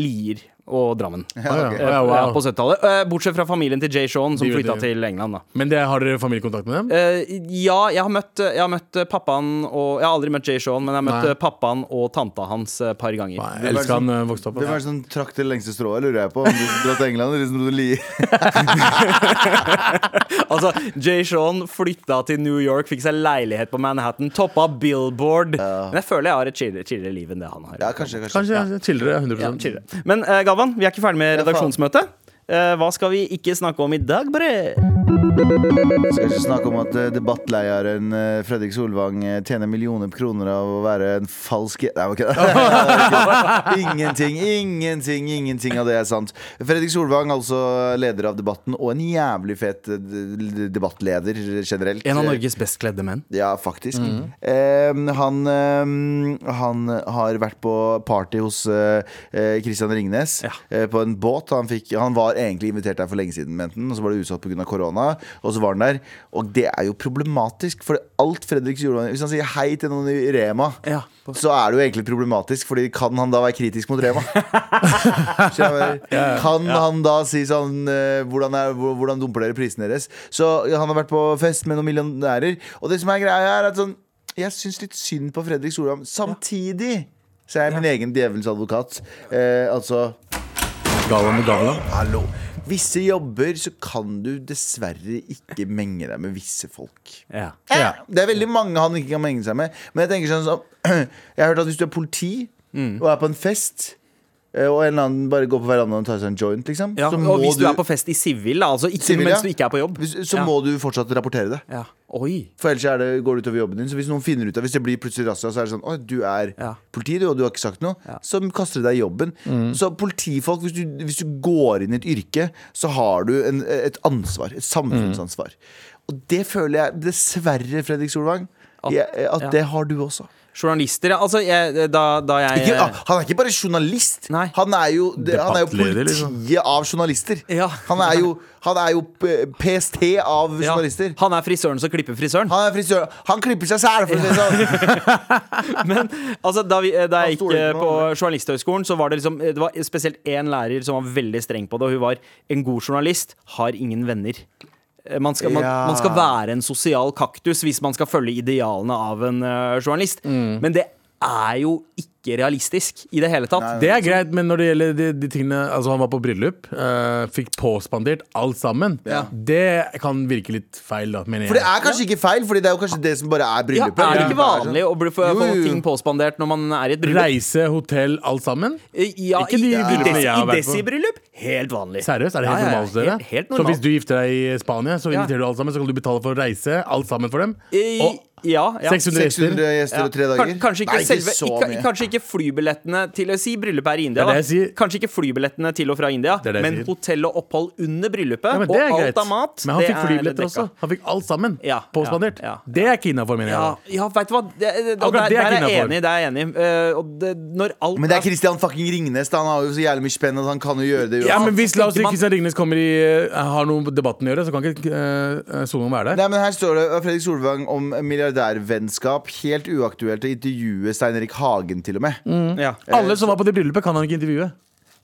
[SPEAKER 3] Lier og Drammen.
[SPEAKER 4] Å, ja.
[SPEAKER 2] ok.
[SPEAKER 4] Å, ja,
[SPEAKER 3] Ja, på
[SPEAKER 4] wow.
[SPEAKER 3] 70-tallet. Eh, Bortsett fra familien til Jay Sean, som
[SPEAKER 4] De- de-
[SPEAKER 3] flytta til England, da.
[SPEAKER 4] Men det, har dere familiekontakt med dem?
[SPEAKER 3] Eh, ja, jeg har møtt, jeg har møtt pappaen og Jeg har aldri møtt Jay Sean, men jeg har møtt
[SPEAKER 4] Nei.
[SPEAKER 3] eh, pappaen og tanta hans et par ganger.
[SPEAKER 4] Nei,
[SPEAKER 2] det
[SPEAKER 4] jeg
[SPEAKER 2] var
[SPEAKER 4] elsker
[SPEAKER 2] sånn-
[SPEAKER 4] han eh, vokste opp.
[SPEAKER 2] Hvem er det som trakk det lengste strået, lurer jeg på. Om du som dro til England eller de som dro til Lier.
[SPEAKER 3] <laughs> Altså, Jay Sean flytta til New York, fikk seg leilighet på Manhattan, toppa Billboard. Men jeg føler jeg har et chillere, chillere liv enn det han har.
[SPEAKER 2] Ja, kanskje, kanskje.
[SPEAKER 4] Kanskje ja. chillere. 100
[SPEAKER 3] Men eh, Galvan, vi er ikke ferdig med
[SPEAKER 2] Ja, faen.
[SPEAKER 3] redaksjonsmøtet. Eh, hva skal vi ikke snakke om i dag, bre?
[SPEAKER 2] Skal ikke snakke om at eh, debattleieren eh, Fredrik Solvang eh, tjener millioner på kroner av å være en falsk Nei, ok. <laughs> ingenting, ingenting, ingenting av det er sant. Fredrik Solvang, altså leder av debatten, og en jævlig fet eh, d- debattleder generelt.
[SPEAKER 3] En av Norges best kledde menn.
[SPEAKER 2] Ja, faktisk.
[SPEAKER 3] Mm.
[SPEAKER 2] Eh, han, eh, han har vært på party hos eh, eh, Christian Ringnes
[SPEAKER 3] Ja.
[SPEAKER 2] eh, på en båt. Han, fikk, han var egentlig invitert der for lenge siden, mente han, og så var det utsatt pga. korona. Og så var han der. Og det er jo problematisk, for alt Fredrik Solvang Hvis han sier hei til noen i Rema,
[SPEAKER 3] Ja.
[SPEAKER 2] så er det jo egentlig problematisk, Fordi kan han da være kritisk mot Rema? <laughs> Skjønner jeg? kan han da si sånn eh, hvordan, er, hvor- hvordan dumper dere prisene deres? Så ja, han har vært på fest med noen millionærer. Og det som er greia, er at sånn Jeg syns litt synd på Fredrik Solheim. Samtidig så er jeg min egen djevelens advokat. Eh, altså
[SPEAKER 4] Galvan med Galvan.
[SPEAKER 2] Hallo. Visse jobber så kan du dessverre ikke menge deg med visse folk.
[SPEAKER 3] Ja.
[SPEAKER 2] Ja. Det er veldig mange han ikke kan menge seg med. Men jeg tenker sånn som <clears throat> Jeg har hørt at hvis du er politi
[SPEAKER 3] Mm.
[SPEAKER 2] og er på en fest eh, og en eller annen bare går på verandaen og tar seg en joint, liksom.
[SPEAKER 3] Ja,
[SPEAKER 2] så
[SPEAKER 3] og hvis du
[SPEAKER 2] du-
[SPEAKER 3] er på fest i sivil, da, altså ikke
[SPEAKER 2] Sivil, ja.
[SPEAKER 3] mens du ikke er på jobb.
[SPEAKER 2] hvis, så
[SPEAKER 3] Ja.
[SPEAKER 2] må du fortsatt rapportere det.
[SPEAKER 3] Ja. Oi.
[SPEAKER 2] For ellers er det, går det utover jobben din. Så hvis noen finner ut av Hvis det blir plutselig razzia, så er det sånn Å, du er
[SPEAKER 3] Ja.
[SPEAKER 2] politi, du, og du har ikke sagt noe. Så kaster de deg i jobben.
[SPEAKER 3] Mm.
[SPEAKER 2] Så politifolk, hvis du, hvis du går inn i et yrke, så har du en, et ansvar. Et samfunnsansvar.
[SPEAKER 3] Mm.
[SPEAKER 2] Og det føler jeg dessverre, Fredrik Solvang,
[SPEAKER 3] At-
[SPEAKER 2] jeg, at
[SPEAKER 3] ja.
[SPEAKER 2] det har du også.
[SPEAKER 3] Journalister, ja. Altså, jeg, da, da jeg
[SPEAKER 2] Ikke, ah, han er ikke bare journalist.
[SPEAKER 3] Eh. Nei.
[SPEAKER 2] Han er jo, det, han er jo
[SPEAKER 4] Debattleder,
[SPEAKER 2] politiet
[SPEAKER 4] liksom.
[SPEAKER 2] av journalister.
[SPEAKER 3] Ja.
[SPEAKER 2] Han er jo, han er jo P- PST av
[SPEAKER 3] Ja.
[SPEAKER 2] journalister.
[SPEAKER 3] Han er frisøren som klipper frisøren.
[SPEAKER 2] <laughs> Han er frisør. Han klipper seg selv, for å si det
[SPEAKER 3] <laughs>
[SPEAKER 2] sånn.
[SPEAKER 3] Men altså, da, vi, da jeg
[SPEAKER 2] Han
[SPEAKER 3] gikk
[SPEAKER 2] stoler
[SPEAKER 3] eh,
[SPEAKER 2] ikke på
[SPEAKER 3] på
[SPEAKER 2] andre.
[SPEAKER 3] Journalisthøgskolen, så var det liksom Det var spesielt én lærer som var veldig streng på det, og hun var en god journalist, har ingen venner. Eh, Man skal, man,
[SPEAKER 2] Ja.
[SPEAKER 3] man skal være en sosial kaktus hvis man skal følge idealene av en eh, journalist. Men det er jo ikke realistisk i det hele tatt.
[SPEAKER 4] Det er greit, men når det gjelder de, de tingene Altså, han var på bryllup, eh, fikk påspandert alt sammen. Det kan virke litt feil, da, mener jeg.
[SPEAKER 2] For det er kanskje ikke feil, Fordi det er jo kanskje det som bare
[SPEAKER 3] Ja,
[SPEAKER 2] er bryllupet.
[SPEAKER 3] er det ikke
[SPEAKER 2] Bryllupet er
[SPEAKER 3] vanlig
[SPEAKER 2] sånn.
[SPEAKER 3] å bli få
[SPEAKER 2] Jo,
[SPEAKER 3] få
[SPEAKER 2] jo, jo.
[SPEAKER 3] ting påspandert når man er i et bryllup?
[SPEAKER 4] Reise, hotell, alt sammen?
[SPEAKER 3] Eh, Ja,
[SPEAKER 4] Ikke de
[SPEAKER 3] i- i
[SPEAKER 4] bryllupene
[SPEAKER 3] desi-
[SPEAKER 4] jeg har vært
[SPEAKER 3] I
[SPEAKER 4] på.
[SPEAKER 3] desibryllup, helt vanlig.
[SPEAKER 4] Seriøst, er det helt
[SPEAKER 3] Ja, ja, ja.
[SPEAKER 4] normalt hos dere?
[SPEAKER 3] Helt, helt
[SPEAKER 4] Så hvis
[SPEAKER 3] normalt.
[SPEAKER 4] du gifter deg i Spania, så
[SPEAKER 3] Ja.
[SPEAKER 4] inviterer du alle sammen, så kan du betale for å reise, alt sammen for dem?
[SPEAKER 3] I-
[SPEAKER 4] Og
[SPEAKER 3] Eh, ja, ja.
[SPEAKER 4] 600 gjester?
[SPEAKER 2] 600 gjester og tre
[SPEAKER 3] Kan-
[SPEAKER 2] dager.
[SPEAKER 3] Kanskje ikke,
[SPEAKER 2] Nei,
[SPEAKER 3] selve,
[SPEAKER 2] så
[SPEAKER 3] ikke,
[SPEAKER 2] mye.
[SPEAKER 3] kanskje ikke flybillettene til å si bryllup er i India.
[SPEAKER 4] Det er
[SPEAKER 3] da.
[SPEAKER 4] det jeg sier.
[SPEAKER 3] Kanskje ikke flybillettene til og fra India,
[SPEAKER 4] Det er det jeg
[SPEAKER 3] men
[SPEAKER 4] sier.
[SPEAKER 3] hotell og opphold under bryllupet.
[SPEAKER 4] Ja,
[SPEAKER 3] og
[SPEAKER 4] men det er
[SPEAKER 3] alt
[SPEAKER 4] greit.
[SPEAKER 3] av mat.
[SPEAKER 4] men han
[SPEAKER 3] det
[SPEAKER 4] fikk
[SPEAKER 3] er dekka.
[SPEAKER 4] flybilletter også. Han fikk alt sammen
[SPEAKER 3] Ja,
[SPEAKER 4] påspandert.
[SPEAKER 3] ja, ja.
[SPEAKER 4] Det er kidnapper, mener jeg.
[SPEAKER 3] Ja,
[SPEAKER 4] da.
[SPEAKER 3] ja veit du hva. Det, det, og der,
[SPEAKER 4] Akkurat det er
[SPEAKER 3] der er jeg
[SPEAKER 4] ikke
[SPEAKER 3] enig.
[SPEAKER 4] innenfor.
[SPEAKER 3] Der er jeg enig. Eh, og det, når alt
[SPEAKER 2] Men det er Christian fucking Ringnes. Da. Han har jo så jævlig mye spenn at han kan jo gjøre det.
[SPEAKER 4] Ja,
[SPEAKER 2] uansett.
[SPEAKER 4] men hvis la oss si
[SPEAKER 3] man-
[SPEAKER 4] Kristian Ringnes kommer i, eh, har noe med debatten å gjøre, så kan ikke uh, Solvang være der.
[SPEAKER 2] Nei, men Her står det av Fredrik Solvang om milliardærvennskap. Helt uaktuelt å intervjue Stein Erik Hagen, til og med.
[SPEAKER 3] ja.
[SPEAKER 4] Alle som var på det bryllupet, kan han ikke intervjue.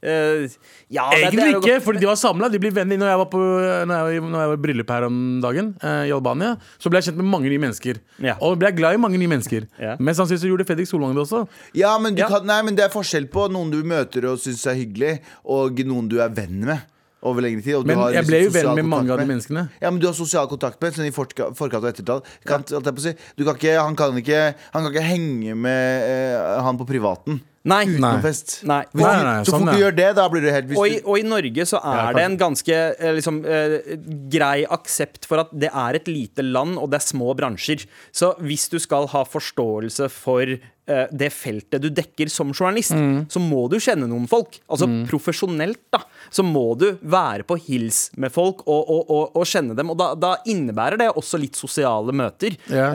[SPEAKER 3] Eh, ja, det- det er
[SPEAKER 4] Egentlig
[SPEAKER 3] jo
[SPEAKER 4] ikke,
[SPEAKER 3] godt.
[SPEAKER 4] fordi de var samla. De blir venner. Når jeg var på når jeg, var i- når jeg var i bryllup her om dagen, eh, i Albania, så ble jeg kjent med mange nye mennesker.
[SPEAKER 3] Ja.
[SPEAKER 4] Og ble jeg glad i mange nye mennesker.
[SPEAKER 3] Ja.
[SPEAKER 4] Men sannsynligvis så gjorde Fredrik Solvang det også.
[SPEAKER 2] Ja, men, du
[SPEAKER 3] Ja.
[SPEAKER 2] Kan, nei, men det er forskjell på noen du møter og syns er hyggelig, og noen du er venn med. Over lengre tid og du
[SPEAKER 4] Men
[SPEAKER 2] har
[SPEAKER 4] jeg
[SPEAKER 2] liksom
[SPEAKER 4] ble jo
[SPEAKER 2] sosial
[SPEAKER 4] venn med
[SPEAKER 2] kontakt
[SPEAKER 4] mange av de menneskene.
[SPEAKER 2] Ja, men du har sosial kontakt med sånn i forka- forkant og ettertall. Kan, holdt jeg på å si. du kan ikke, han, kan ikke, han kan ikke henge med eh, han på privaten
[SPEAKER 3] Nei.
[SPEAKER 2] uten
[SPEAKER 4] Nei.
[SPEAKER 2] noen fest.
[SPEAKER 3] Nei.
[SPEAKER 2] Hvis
[SPEAKER 4] Nei,
[SPEAKER 2] du-
[SPEAKER 4] nei, nei,
[SPEAKER 2] så
[SPEAKER 4] sånn
[SPEAKER 2] fort du
[SPEAKER 4] er det.
[SPEAKER 2] gjør det, da blir du helt hvis
[SPEAKER 3] Og i,
[SPEAKER 2] du,
[SPEAKER 3] og i Norge så er
[SPEAKER 4] Ja,
[SPEAKER 3] det en ganske eh, liksom, eh, grei aksept for at det er et lite land, og det er små bransjer. Så hvis du skal ha forståelse for eh, det feltet du dekker som journalist, så må du kjenne noen folk. Altså profesjonelt, da. Så må du være på hils med folk og, og, og, og kjenne dem. Og da, da innebærer det også litt sosiale møter.
[SPEAKER 4] Ja.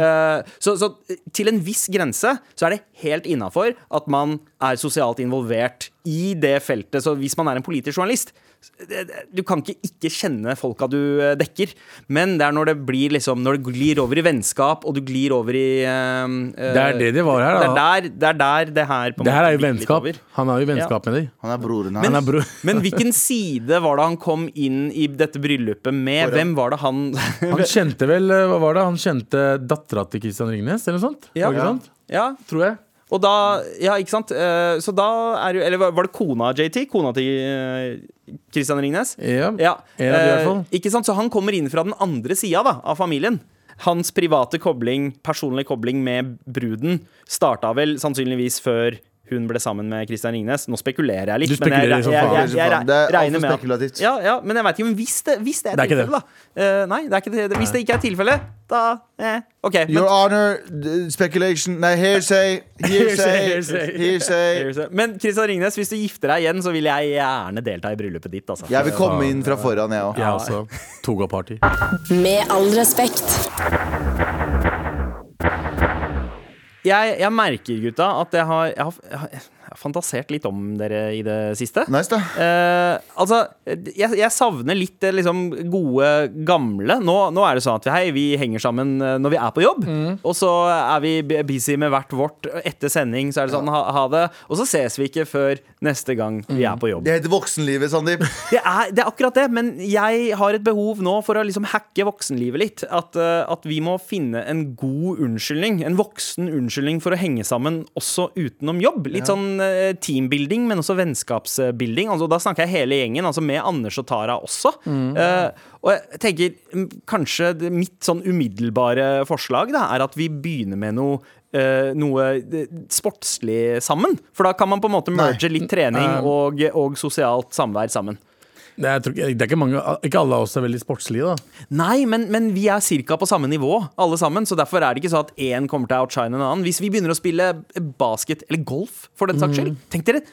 [SPEAKER 3] Eh, så, så til en viss grense så er det helt innafor at man er sosialt involvert i det feltet. Så hvis man er en politisk journalist det- det- Du kan ikke ikke kjenne folka du eh, dekker, men det er når det blir liksom Når det glir over i vennskap, og du glir over i eh, eh,
[SPEAKER 4] Det er det det var her, da.
[SPEAKER 3] Det er der det, er der det her på en
[SPEAKER 4] Det her
[SPEAKER 3] måte
[SPEAKER 4] er jo
[SPEAKER 3] glir litt
[SPEAKER 4] vennskap.
[SPEAKER 3] over.
[SPEAKER 4] Han har jo vennskap med deg.
[SPEAKER 2] Han er broren
[SPEAKER 4] Han
[SPEAKER 2] hans.
[SPEAKER 4] er bro.
[SPEAKER 3] <laughs> Men hvilken side var det han kom inn i dette bryllupet med? Hvem var det han
[SPEAKER 4] Han kjente vel eh, Hva var det? Han kjente dattera til Kristian Ringnes, eller noe sånt?
[SPEAKER 3] <laughs> Ja.
[SPEAKER 4] Var det ikke sant?
[SPEAKER 3] Ja,
[SPEAKER 4] Tror jeg.
[SPEAKER 3] Og da, ja, ikke sant Eh, Så da er jo, eller var- var det kona JT? Kona til eh, Christian Ringnes?
[SPEAKER 4] Ja.
[SPEAKER 3] Ja,
[SPEAKER 4] En av de, i hvert
[SPEAKER 3] eh,
[SPEAKER 4] fall.
[SPEAKER 3] Ikke sant, så han kommer inn fra den andre sida da, av familien Hans private kobling, personlig kobling med bruden Starta vel sannsynligvis før hun ble sammen med Christian Ringnes. Nå spekulerer jeg litt.
[SPEAKER 4] Du spekulerer
[SPEAKER 3] men jeg,
[SPEAKER 4] som
[SPEAKER 3] jeg,
[SPEAKER 4] faen.
[SPEAKER 3] jeg, jeg, jeg,
[SPEAKER 2] Det er
[SPEAKER 3] regner
[SPEAKER 2] altfor
[SPEAKER 3] med at-
[SPEAKER 2] spekulativt.
[SPEAKER 3] Ja, ja, men jeg veit ikke om hvis det, hvis det er
[SPEAKER 4] Det er ikke det.
[SPEAKER 3] tilfellet, da. Eh, nei, det er ikke det. Hvis det ikke er tilfellet, da eh, OK. Men,
[SPEAKER 2] Your honor, d- speculation Nei, hearsay.
[SPEAKER 4] <laughs> Hearsay,
[SPEAKER 2] Hearsay.
[SPEAKER 4] hearsay.
[SPEAKER 2] hearsay.
[SPEAKER 3] men Christian Ringnes, hvis du gifter deg igjen, så vil jeg gjerne delta i bryllupet ditt. Altså.
[SPEAKER 2] Jeg vil komme inn fra foran, jeg òg.
[SPEAKER 4] Jeg også. Toga-party.
[SPEAKER 5] Med all respekt.
[SPEAKER 3] Jeg, jeg merker, gutta, at jeg har, jeg, har, jeg har- jeg har fantasert litt om dere i det siste.
[SPEAKER 2] Nice, da.
[SPEAKER 3] Eh, altså, jeg, jeg savner litt det liksom gode, gamle. Nå, nå er det sånn at hei, vi henger sammen eh, når vi er på jobb. Og så er vi b- busy med hvert vårt. Etter sending så er det sånn ha, ha det. Og så ses vi ikke før neste gang
[SPEAKER 2] Mm.
[SPEAKER 3] vi er på jobb.
[SPEAKER 2] Det heter voksenlivet, Sandeep.
[SPEAKER 3] Det er, det er akkurat det, men jeg har et behov nå for å liksom hacke voksenlivet litt. At, eh, at vi må finne en god unnskyldning, en voksen unnskyldning for å henge sammen også utenom jobb. Litt sånn eh, teambuilding, men også vennskapsbuilding. Altså, da snakker jeg hele gjengen, altså med Anders og Tara også. Eh, og jeg tenker mm, kanskje det- mitt sånn umiddelbare forslag da, er at vi begynner med noe eh, noe eh, sportslig sammen. For da kan man på en måte merge litt trening og, og sosialt samvær sammen.
[SPEAKER 4] Det er, jeg tror ikke- det er ikke mange Ikke alle av oss er veldig sportslige, da.
[SPEAKER 3] Nei, men, men vi er cirka på samme nivå, alle sammen. Så derfor er det ikke sånn at én kommer til å outshine en annen. Hvis vi begynner å spille basket, eller golf, for den saks skyld. Tenk dere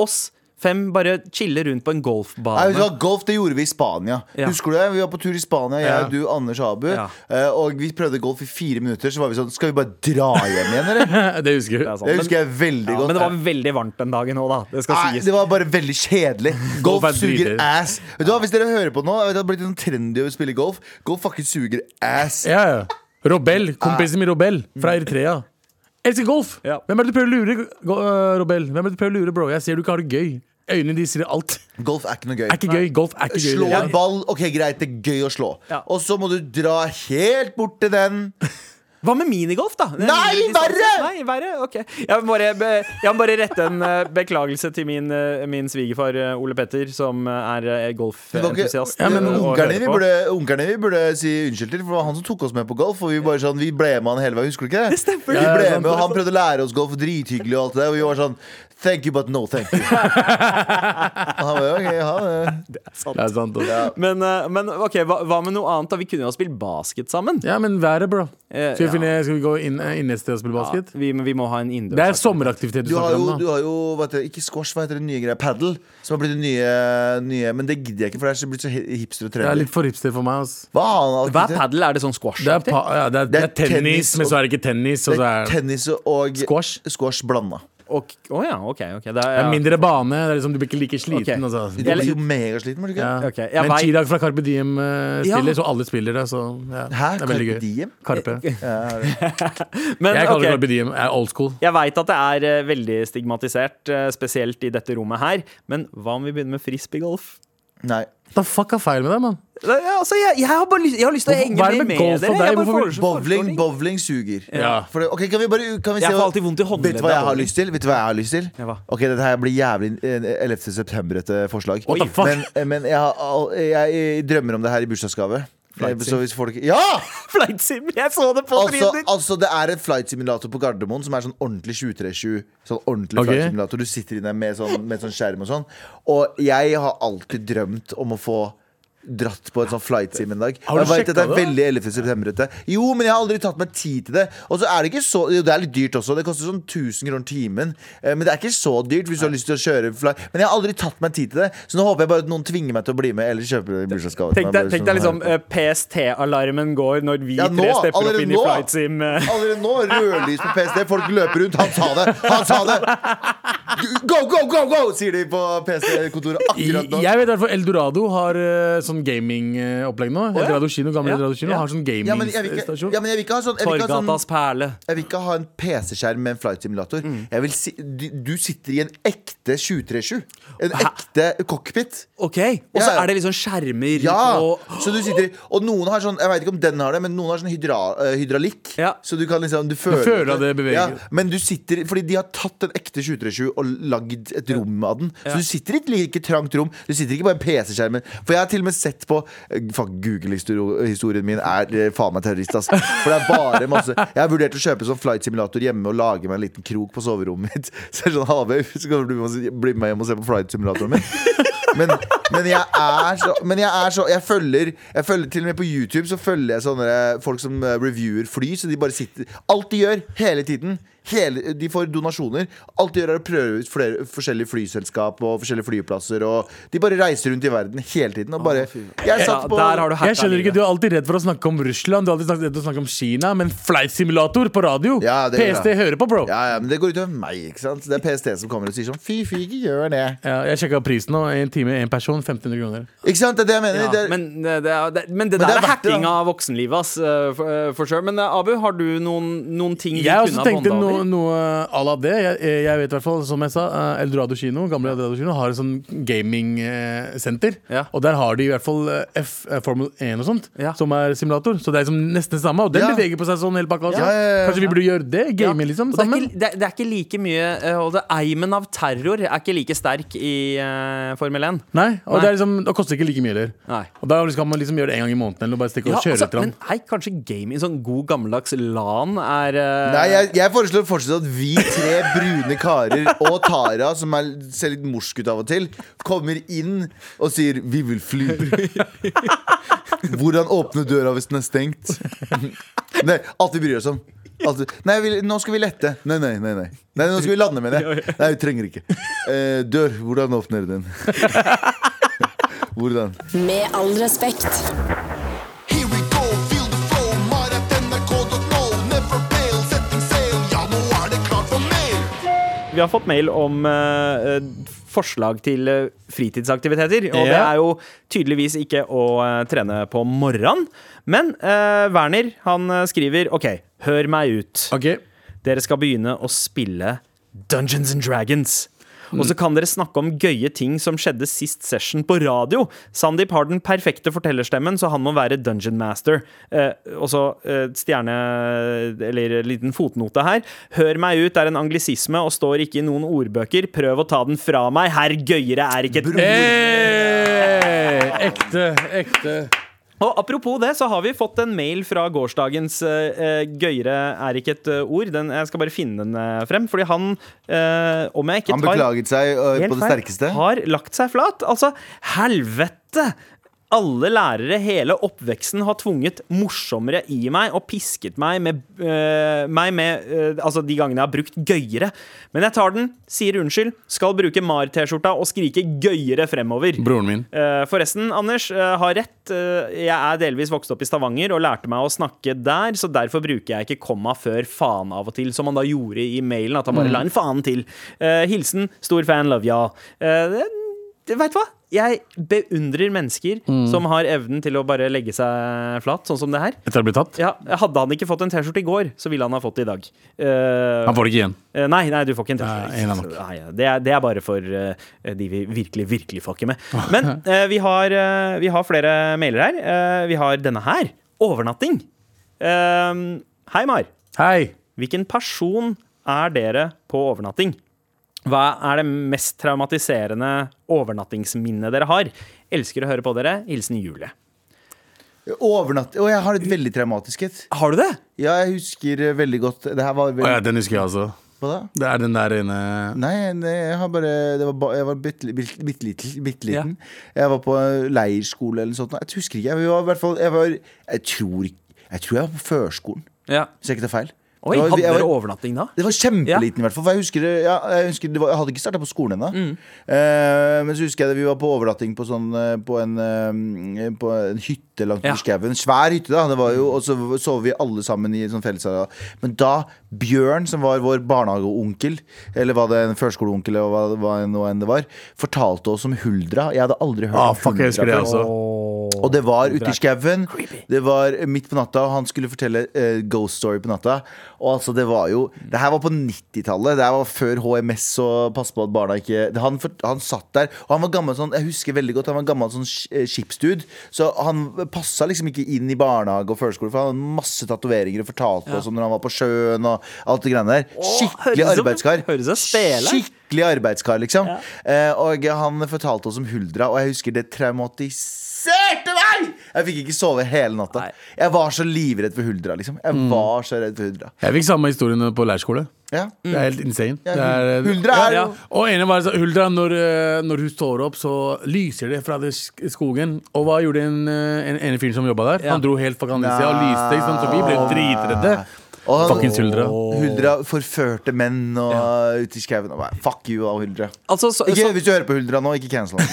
[SPEAKER 3] oss fem bare chille rundt på en
[SPEAKER 2] Nei, vet du
[SPEAKER 3] golfbane.
[SPEAKER 2] hva, Golf det gjorde vi i Spania.
[SPEAKER 3] Ja.
[SPEAKER 2] Husker du det? Vi var på tur i Spania, jeg,
[SPEAKER 4] Ja.
[SPEAKER 2] du, Anders og Abu.
[SPEAKER 3] Ja.
[SPEAKER 2] eh, Og vi prøvde golf i fire minutter. Så var vi sånn Skal vi bare dra hjem igjen,
[SPEAKER 3] <laughs>
[SPEAKER 2] eller?
[SPEAKER 4] <laughs> Det
[SPEAKER 3] Det
[SPEAKER 4] husker
[SPEAKER 3] er
[SPEAKER 4] du.
[SPEAKER 3] sant.
[SPEAKER 2] Det
[SPEAKER 3] Men,
[SPEAKER 2] husker jeg veldig
[SPEAKER 3] ja,
[SPEAKER 2] godt.
[SPEAKER 3] men det var veldig varmt den dagen òg, da. Det skal
[SPEAKER 2] Nei,
[SPEAKER 3] sies.
[SPEAKER 2] det var bare veldig
[SPEAKER 3] <laughs>
[SPEAKER 2] kjedelig. Golf
[SPEAKER 4] Golf er
[SPEAKER 2] suger
[SPEAKER 4] dritdødt.
[SPEAKER 2] ass. Vet du hva, Hvis dere hører på nå, jeg vet det har blitt sånn trendy å spille golf. Golf fucking suger ass.
[SPEAKER 4] Ja, ja. Robel. Kompisen min Robel fra Eritrea. Elsker golf!
[SPEAKER 3] Ja.
[SPEAKER 4] Hvem er det du prøver å lure, go- øh, Robel? Hvem er det du prøver å lure, bro? Jeg ser du ikke har det gøy. Øynene dine sier alt.
[SPEAKER 2] Golf er ikke noe
[SPEAKER 4] Er
[SPEAKER 2] gøy.
[SPEAKER 4] ikke gøy. Golf er ikke gøy.
[SPEAKER 2] Slå
[SPEAKER 4] det
[SPEAKER 2] en
[SPEAKER 4] der.
[SPEAKER 2] ball, ok greit, det er gøy å slå.
[SPEAKER 3] Ja.
[SPEAKER 2] Og så må du dra helt bort til den.
[SPEAKER 3] Hva med minigolf, da? Det er
[SPEAKER 2] Nei,
[SPEAKER 3] mindre distanse.
[SPEAKER 2] verre!
[SPEAKER 3] Nei, verre? Ok. Jeg må bare, be, jeg må bare rette en eh, beklagelse til min, eh, min svigerfar eh, Ole Petter, som eh, er eh,
[SPEAKER 2] Det var ikke-
[SPEAKER 3] golfentusiast.
[SPEAKER 4] Ja, men
[SPEAKER 3] eh, og
[SPEAKER 2] Onkelen
[SPEAKER 3] hører
[SPEAKER 2] din vi
[SPEAKER 3] på.
[SPEAKER 2] burde, onkelen din vi burde si unnskyld til, for det var han som tok oss med på golf. Og vi bare sånn, vi ble med han hele veien, husker du ikke det?
[SPEAKER 3] stemmer.
[SPEAKER 2] Vi
[SPEAKER 4] Ja,
[SPEAKER 2] ble
[SPEAKER 4] sant,
[SPEAKER 2] med, og
[SPEAKER 4] det er
[SPEAKER 2] han prøvde å lære oss golf, drithyggelig og alt det der. Og vi var sånn Thank you, but no thank you. Og han bare, ok, ha det.
[SPEAKER 4] Det er sant. ass.
[SPEAKER 3] Men, eh, men ok, hva, hva med noe annet? da? Vi kunne jo ha spilt basket sammen.
[SPEAKER 4] Ja, men været, bro.
[SPEAKER 3] Eh,
[SPEAKER 4] Skal vi,
[SPEAKER 3] ja.
[SPEAKER 4] finne, skal vi gå inn, eh, inn et sted og spille basket?
[SPEAKER 3] vi, vi må ha en innendørs
[SPEAKER 4] Det er sommeraktivitet du
[SPEAKER 2] Du har
[SPEAKER 4] snakker
[SPEAKER 2] jo,
[SPEAKER 4] om,
[SPEAKER 2] du
[SPEAKER 4] da.
[SPEAKER 2] har jo hva heter det, ikke squash, hva heter det nye greia? Paddle. Som har blitt det nye, nye Men det gidder jeg ikke, for det er så blitt så hi- hipster og
[SPEAKER 4] Det er
[SPEAKER 2] trendy.
[SPEAKER 4] litt for hipster for meg, ass.
[SPEAKER 2] Hva annet
[SPEAKER 3] Hva er
[SPEAKER 2] aktivitet?
[SPEAKER 3] padel? Er det sånn squash?
[SPEAKER 4] Det er, pa ja, det er, det er tennis,
[SPEAKER 2] tennis
[SPEAKER 4] men
[SPEAKER 2] og-
[SPEAKER 4] så er det ikke tennis. Og
[SPEAKER 2] Det
[SPEAKER 4] så
[SPEAKER 2] er
[SPEAKER 4] er
[SPEAKER 2] tennis og
[SPEAKER 4] Squash?
[SPEAKER 2] squash blanda.
[SPEAKER 3] Ok, å ja, ok. ok, Det
[SPEAKER 4] det
[SPEAKER 3] er,
[SPEAKER 4] er
[SPEAKER 3] ja.
[SPEAKER 4] mindre bane. Det er liksom, du blir ikke like
[SPEAKER 3] Ok.
[SPEAKER 2] Du
[SPEAKER 4] sliten. Altså.
[SPEAKER 3] Jeg-
[SPEAKER 2] blir jo megasliten, må du ikke?
[SPEAKER 4] Ja.
[SPEAKER 3] Ok, jeg
[SPEAKER 4] Men
[SPEAKER 3] vet-
[SPEAKER 4] Chirag fra Carpe Diem eh, spiller,
[SPEAKER 3] Ja.
[SPEAKER 4] så alle spiller det. Så, ja.
[SPEAKER 2] Hæ?
[SPEAKER 4] Det er veldig
[SPEAKER 2] Carpe
[SPEAKER 4] gøy.
[SPEAKER 2] diem?
[SPEAKER 4] Carpe. <laughs>
[SPEAKER 3] Men,
[SPEAKER 4] Jeg
[SPEAKER 3] Eh,
[SPEAKER 4] kaller det
[SPEAKER 3] ok.
[SPEAKER 4] Carpe Diem. Jeg er old school.
[SPEAKER 3] Jeg veit at det er eh, veldig stigmatisert, eh, spesielt i dette rommet her, men hva om vi begynner med frisbeegolf?
[SPEAKER 2] Nei.
[SPEAKER 4] Hva fuck er feil med deg, mann?
[SPEAKER 3] Det- ja, Altså, jeg, jeg, har bare lyst, jeg har lyst til å
[SPEAKER 4] Hvorfor-
[SPEAKER 3] henge
[SPEAKER 4] hva er det
[SPEAKER 3] med,
[SPEAKER 4] med
[SPEAKER 3] med
[SPEAKER 4] golf
[SPEAKER 3] dere.
[SPEAKER 4] og deg?
[SPEAKER 3] Jeg, bare
[SPEAKER 4] Hvorfor-
[SPEAKER 3] foreslår-
[SPEAKER 2] Bowling,
[SPEAKER 3] foreslår ting.
[SPEAKER 2] bowling suger.
[SPEAKER 4] Ja.
[SPEAKER 2] For det, ok, kan vi bare kan vi se
[SPEAKER 3] Jeg får
[SPEAKER 2] hva-
[SPEAKER 3] alltid vondt i håndleddet
[SPEAKER 2] Vet du hva jeg
[SPEAKER 3] av
[SPEAKER 2] har
[SPEAKER 3] bowling.
[SPEAKER 2] lyst til? Vet du hva jeg har lyst til?
[SPEAKER 3] Ja, hva?
[SPEAKER 2] Ok, Dette her blir jævlig eh, 11. september-ete forslag.
[SPEAKER 4] What the fuck?
[SPEAKER 2] Men, eh, men jeg, har all- jeg, jeg drømmer om det her i bursdagsgave. Eh, Så hvis folk Ja!
[SPEAKER 3] Flight sim, jeg så det på
[SPEAKER 2] Altså,
[SPEAKER 3] Twitter!
[SPEAKER 2] altså, det er en flight simulator på Gardermoen som er sånn ordentlig 23-7. Sånn ordentlig
[SPEAKER 4] Ok.
[SPEAKER 2] flight simulator Du sitter inne med sånn, med sånn skjerm og sånn. Og jeg har alltid drømt om å få Dratt på en sånn flight sim en dag.
[SPEAKER 4] Har du
[SPEAKER 2] Og jeg vet at det
[SPEAKER 4] sjekket
[SPEAKER 2] er
[SPEAKER 4] det?
[SPEAKER 2] veldig 11. september-ete. Jo, men jeg har aldri tatt meg tid til det. Og så er det ikke så Jo, det er litt dyrt også. Det koster sånn 1000 kroner timen. Eh, Men det er ikke så dyrt hvis du har lyst til å kjøre flight. Men jeg har aldri tatt meg tid til det, så nå håper jeg bare at noen tvinger meg til å bli med eller kjøper det i bursdagsgave. til
[SPEAKER 3] Tenk deg,
[SPEAKER 2] meg, bare
[SPEAKER 3] tenk
[SPEAKER 2] sånn
[SPEAKER 3] deg liksom
[SPEAKER 2] her.
[SPEAKER 3] eh, PST-alarmen går når vi
[SPEAKER 2] Ja, nå,
[SPEAKER 3] tre stepper opp
[SPEAKER 2] allerede
[SPEAKER 3] inn i
[SPEAKER 2] nå.
[SPEAKER 3] flight sim. eh.
[SPEAKER 2] Allerede nå, rødlys på PST, folk løper rundt. Han sa det! Han sa det! Go, go, go, go! sier de på PST-kontoret
[SPEAKER 4] I,
[SPEAKER 2] akkurat nå.
[SPEAKER 4] jeg vet i hvert fall Eldorado har eh, sånn gamingopplegg nå. Eldorado kino, gamle
[SPEAKER 3] Ja.
[SPEAKER 4] Eldorado kino
[SPEAKER 3] Ja.
[SPEAKER 4] har sånn
[SPEAKER 2] Ja, men jeg vil ikke,
[SPEAKER 4] gamingstasjon.
[SPEAKER 2] ja, men jeg vil ikke ha sånn Jeg vil ikke ha,
[SPEAKER 3] Torgatas
[SPEAKER 2] sånn,
[SPEAKER 3] perle.
[SPEAKER 2] jeg vil ikke ha en PC-skjerm med en flight simulator.
[SPEAKER 3] Mm.
[SPEAKER 2] Jeg vil si, du, du sitter i en ekte 737. En ekte cockpit.
[SPEAKER 3] Ok, Og så
[SPEAKER 2] Ja.
[SPEAKER 3] er det liksom skjermer
[SPEAKER 2] Ja!
[SPEAKER 3] og
[SPEAKER 2] Så du sitter i Og noen har sånn Jeg vet ikke om den har det, men noen har sånn hydra, eh, hydralikk.
[SPEAKER 3] Ja.
[SPEAKER 2] Så du kan liksom Du føler,
[SPEAKER 4] føler at det beveger.
[SPEAKER 2] men du sitter Fordi de har tatt en ekte 737 og og lagd et rom av den. Så du sitter i et like trangt rom. Du sitter ikke bare i PC-skjermen. For jeg har til og med sett på eh, Fuck, Google-historien min er eh, faen meg terrorist, ass. For det er bare masse Jeg har vurdert å kjøpe sånn flight simulator hjemme og lage meg en liten krok på soverommet mitt. <laughs> Så jeg er sånn halvveis, så kan du bli med og- bli med hjem og se på flight simulatoren min. Men, men jeg er så Men jeg er så Jeg følger, jeg følger Til og med på YouTube så følger jeg sånne folk som eh, reviewer fly, så de bare sitter Alt de gjør, hele tiden hele, De får donasjoner. Alt de gjør, er å prøve ut flere, forskjellige flyselskap og forskjellige flyplasser, og de bare reiser rundt i verden hele tiden og bare Jeg
[SPEAKER 3] Ja,
[SPEAKER 2] satt på
[SPEAKER 3] der har du
[SPEAKER 4] Jeg
[SPEAKER 3] hacka
[SPEAKER 4] skjønner ikke,
[SPEAKER 3] livet.
[SPEAKER 4] Du er alltid redd for å snakke om Russland, du er alltid snakket- redd for å snakke om Kina, men flight simulator på radio!
[SPEAKER 2] Ja, det gjør
[SPEAKER 4] PST
[SPEAKER 2] jeg.
[SPEAKER 4] hører på, bro!
[SPEAKER 2] ja, ja, men det går utover meg, ikke sant? Det er PST som kommer og sier sånn Fy, fy, ikke gjør det.
[SPEAKER 4] Ja, jeg sjekka prisen nå. En time, én person, 1500 kroner.
[SPEAKER 2] Ikke sant? Det er det jeg mener.
[SPEAKER 3] Ja,
[SPEAKER 2] det er,
[SPEAKER 3] men, eh, det er, det, men det der
[SPEAKER 2] Men det er
[SPEAKER 3] er
[SPEAKER 2] verdt det,
[SPEAKER 3] hacking
[SPEAKER 2] da.
[SPEAKER 3] av voksenlivet, ass. eh, For, eh, for sure. Men eh, Abu, har du noen, noen ting vi
[SPEAKER 4] Jeg
[SPEAKER 3] kunne
[SPEAKER 4] også
[SPEAKER 3] ha
[SPEAKER 4] tenkte
[SPEAKER 3] bondet
[SPEAKER 4] noe,
[SPEAKER 3] over?
[SPEAKER 4] noe à la det. Jeg, jeg vet i hvert fall, som jeg sa, eh, Eldorado kino, gamle Eldorado kino har et sånn gamingsenter.
[SPEAKER 3] Ja.
[SPEAKER 4] Og der har de i hvert fall eh, F, eh, Formel 1 og sånt,
[SPEAKER 3] Ja.
[SPEAKER 4] som er simulator. Så det er liksom nesten det samme. Og den
[SPEAKER 2] Ja.
[SPEAKER 4] beveger på seg sånn hele pakka. også.
[SPEAKER 2] Ja, ja, ja, ja.
[SPEAKER 4] Kanskje vi burde gjøre det?
[SPEAKER 3] Ja.
[SPEAKER 4] Game, liksom,
[SPEAKER 3] Og det, er
[SPEAKER 4] sammen?
[SPEAKER 3] ikke, det, er- det er ikke like mye eh, og det, Eimen av terror er ikke like sterk i eh, Formel 1.
[SPEAKER 4] Nei, og
[SPEAKER 3] Nei.
[SPEAKER 4] Det, er liksom, det koster ikke like mye heller.
[SPEAKER 3] Nei.
[SPEAKER 4] Og da liksom, kan man liksom gjøre det en gang i måneden. Eller bare stikke og
[SPEAKER 3] Ja,
[SPEAKER 4] kjøre
[SPEAKER 3] altså,
[SPEAKER 4] etter ham.
[SPEAKER 3] men hei, kanskje gaming, sånn god gammeldags LAN er eh,
[SPEAKER 2] Nei, jeg, jeg foreslår fortsatt at vi tre brune karer og Tara, som er, ser litt morsk ut av og til, kommer inn og sier 'vi vil fly'. Hvordan åpne døra hvis den er stengt? Nei, alt vi bryr oss om. Alt vi- Nei, vi, nå skal vi lette. Nei, nei, nei. nei. nei nå skal vi lande, mener jeg. Nei, vi trenger ikke. Eh, dør, hvordan åpner den? Hvordan?
[SPEAKER 5] Med all respekt.
[SPEAKER 7] Here we go, feel the flow. Mar.nrk.no. Never fail, setting sail. Ja, nå er det klart for mer.
[SPEAKER 3] Vi har fått mail om eh, eh, forslag til eh, fritidsaktiviteter. Og det
[SPEAKER 4] Ja.
[SPEAKER 3] er jo tydeligvis ikke å eh, trene på morgenen. Men eh, Werner han eh, skriver OK, hør meg ut.
[SPEAKER 4] Ok.
[SPEAKER 3] Dere skal begynne å spille Dungeons and Dragons. Og så kan dere snakke om gøye ting som skjedde sist session på radio. Sandeep har den perfekte fortellerstemmen, så han må være dungeon master. Eh, og så eh, stjerne Eller liten fotnote her. Hør meg ut er en anglisisme og står ikke i noen ordbøker. Prøv å ta den fra meg. Herr gøyere er ikke et ord.
[SPEAKER 4] Hey! Ekte, ekte.
[SPEAKER 3] Og apropos det, så har vi fått en mail fra gårsdagens eh, eh, Gøyere er ikke et eh, ord. Den, jeg skal bare finne den eh, frem. Fordi han, eh, om jeg ikke
[SPEAKER 2] Han
[SPEAKER 3] tar
[SPEAKER 2] beklaget seg eh,
[SPEAKER 3] helt
[SPEAKER 2] på det
[SPEAKER 3] feil,
[SPEAKER 2] sterkeste.
[SPEAKER 3] har lagt seg flat. Altså, helvete! Alle lærere hele oppveksten har tvunget morsommere i meg og pisket meg med, eh, meg med eh, Altså de gangene jeg har brukt gøyere. Men jeg tar den, sier unnskyld, skal bruke MAR-T-skjorta og skrike gøyere fremover.
[SPEAKER 4] Broren min.
[SPEAKER 3] Eh, Forresten, Anders eh, har rett. Eh, Jeg er delvis vokst opp i Stavanger og lærte meg å snakke der, så derfor bruker jeg ikke komma før faen av og til, som han da gjorde i mailen. At han
[SPEAKER 4] Mm.
[SPEAKER 3] bare la en faen til. Eh, Hilsen stor fan, love ya. Eh, det- Vet du hva? Jeg beundrer mennesker
[SPEAKER 4] Mm.
[SPEAKER 3] som har evnen til å bare legge seg flat, sånn som det her.
[SPEAKER 4] Etter å ha blitt tatt.
[SPEAKER 3] Ja, hadde han ikke fått en T-skjorte i går, så ville han ha fått det i dag. Eh,
[SPEAKER 4] Han får det ikke igjen.
[SPEAKER 3] Eh, Nei, nei, du får ikke en
[SPEAKER 4] Nei, en er nok.
[SPEAKER 3] T-skjorte. Nei, Det, er- det er bare for eh, de vi virkelig, virkelig fucker med. Men eh, vi, har, eh, vi har flere mailer her. Eh, vi har denne her. Overnatting. Eh, hei, Mar.
[SPEAKER 4] Hei!
[SPEAKER 3] Hvilken person er dere på overnatting? Hva er det mest traumatiserende overnattingsminnet dere har? Elsker å høre på dere. Hilsen Julie.
[SPEAKER 2] Overnatt... Å, jeg har et veldig traumatisk et.
[SPEAKER 3] Har du det?
[SPEAKER 2] Ja, jeg husker eh, veldig godt Det her var
[SPEAKER 4] Å ja,
[SPEAKER 2] veldig
[SPEAKER 4] den husker jeg altså.
[SPEAKER 2] Hva da?
[SPEAKER 4] Det er den der inne
[SPEAKER 2] Nei, nei, jeg har bare det var, ba- Jeg var bitte bitte- bitte liten. bitte liten. Jeg var på eh, leirskole eller noe sånt. Jeg husker ikke. Jeg var, i hvert fall, jeg, var, jeg, tror, jeg tror jeg var på førskolen,
[SPEAKER 3] Ja.
[SPEAKER 2] hvis jeg ikke tar feil.
[SPEAKER 3] Oi,
[SPEAKER 2] Det var-
[SPEAKER 3] hadde
[SPEAKER 2] jeg
[SPEAKER 3] dere
[SPEAKER 2] var-
[SPEAKER 3] overnatting da?
[SPEAKER 2] det var kjempeliten, i hvert fall. For jeg husker, det- ja, jeg, husker det var, jeg hadde ikke starta på skolen ennå. Eh, men så husker jeg det, vi var på overnatting på, sånn, eh, på, en, eh, på en hytte langt
[SPEAKER 3] Ja.
[SPEAKER 2] i skauen. En Svær hytte, da. Det var jo, og så sov vi alle sammen i en sånn fellesareal. Men da Bjørn, som var vår barnehageonkel, eller var det en førskoleonkel, eller hva, hva nå enn det var, fortalte oss om huldra. Jeg hadde aldri hørt
[SPEAKER 4] Ah,
[SPEAKER 2] om
[SPEAKER 4] fuck, jeg husker det
[SPEAKER 2] før.
[SPEAKER 4] også.
[SPEAKER 2] Og det var ute i skauen. Det var midt på natta, og han skulle fortelle eh, ghost story på natta. Og altså, det var jo Det her var på 90-tallet. Det her var før HMS og passe på at barna ikke det- han, for- han satt der, og han var gammel sånn Jeg husker veldig godt, han var gammel sånn sk- eh, skipsdude. Så han passa liksom ikke inn i barnehage og førskole, for han hadde masse tatoveringer og fortalte oss om når han var på sjøen og alt det greiene der.
[SPEAKER 3] Åh,
[SPEAKER 2] Skikkelig
[SPEAKER 3] høres ut som-
[SPEAKER 2] arbeidskar.
[SPEAKER 3] høres ut som Stele.
[SPEAKER 2] Skikkelig skikkelig arbeidskar, liksom. Eh, og han fortalte oss om Huldra, og jeg husker det traumatiserte meg! Jeg fikk ikke sove hele natta. Jeg var så livredd for Huldra, liksom. Jeg
[SPEAKER 4] Mm.
[SPEAKER 2] var så redd for Huldra.
[SPEAKER 4] Jeg fikk samme historien på leirskole.
[SPEAKER 2] Ja.
[SPEAKER 4] Det er helt insane.
[SPEAKER 2] Ja,
[SPEAKER 4] Det er,
[SPEAKER 2] Huldra er jo-
[SPEAKER 4] Og ene var så, Huldra, når, eh, når hun står opp, så lyser det fra det sk- skogen. Og hva gjorde en, eh, en, en fyr som jobba der? Han dro helt fra kanaliset og lyste, ikke sant? så vi ble dritredde.
[SPEAKER 2] Og han-
[SPEAKER 4] Fuckings Huldra.
[SPEAKER 2] Huldra forførte menn og ute i skauen. og bare, Fuck you, all Huldra.
[SPEAKER 3] Altså, så,
[SPEAKER 2] Ikke,
[SPEAKER 3] så,
[SPEAKER 2] hvis du hører på Huldra nå, ikke cancel han.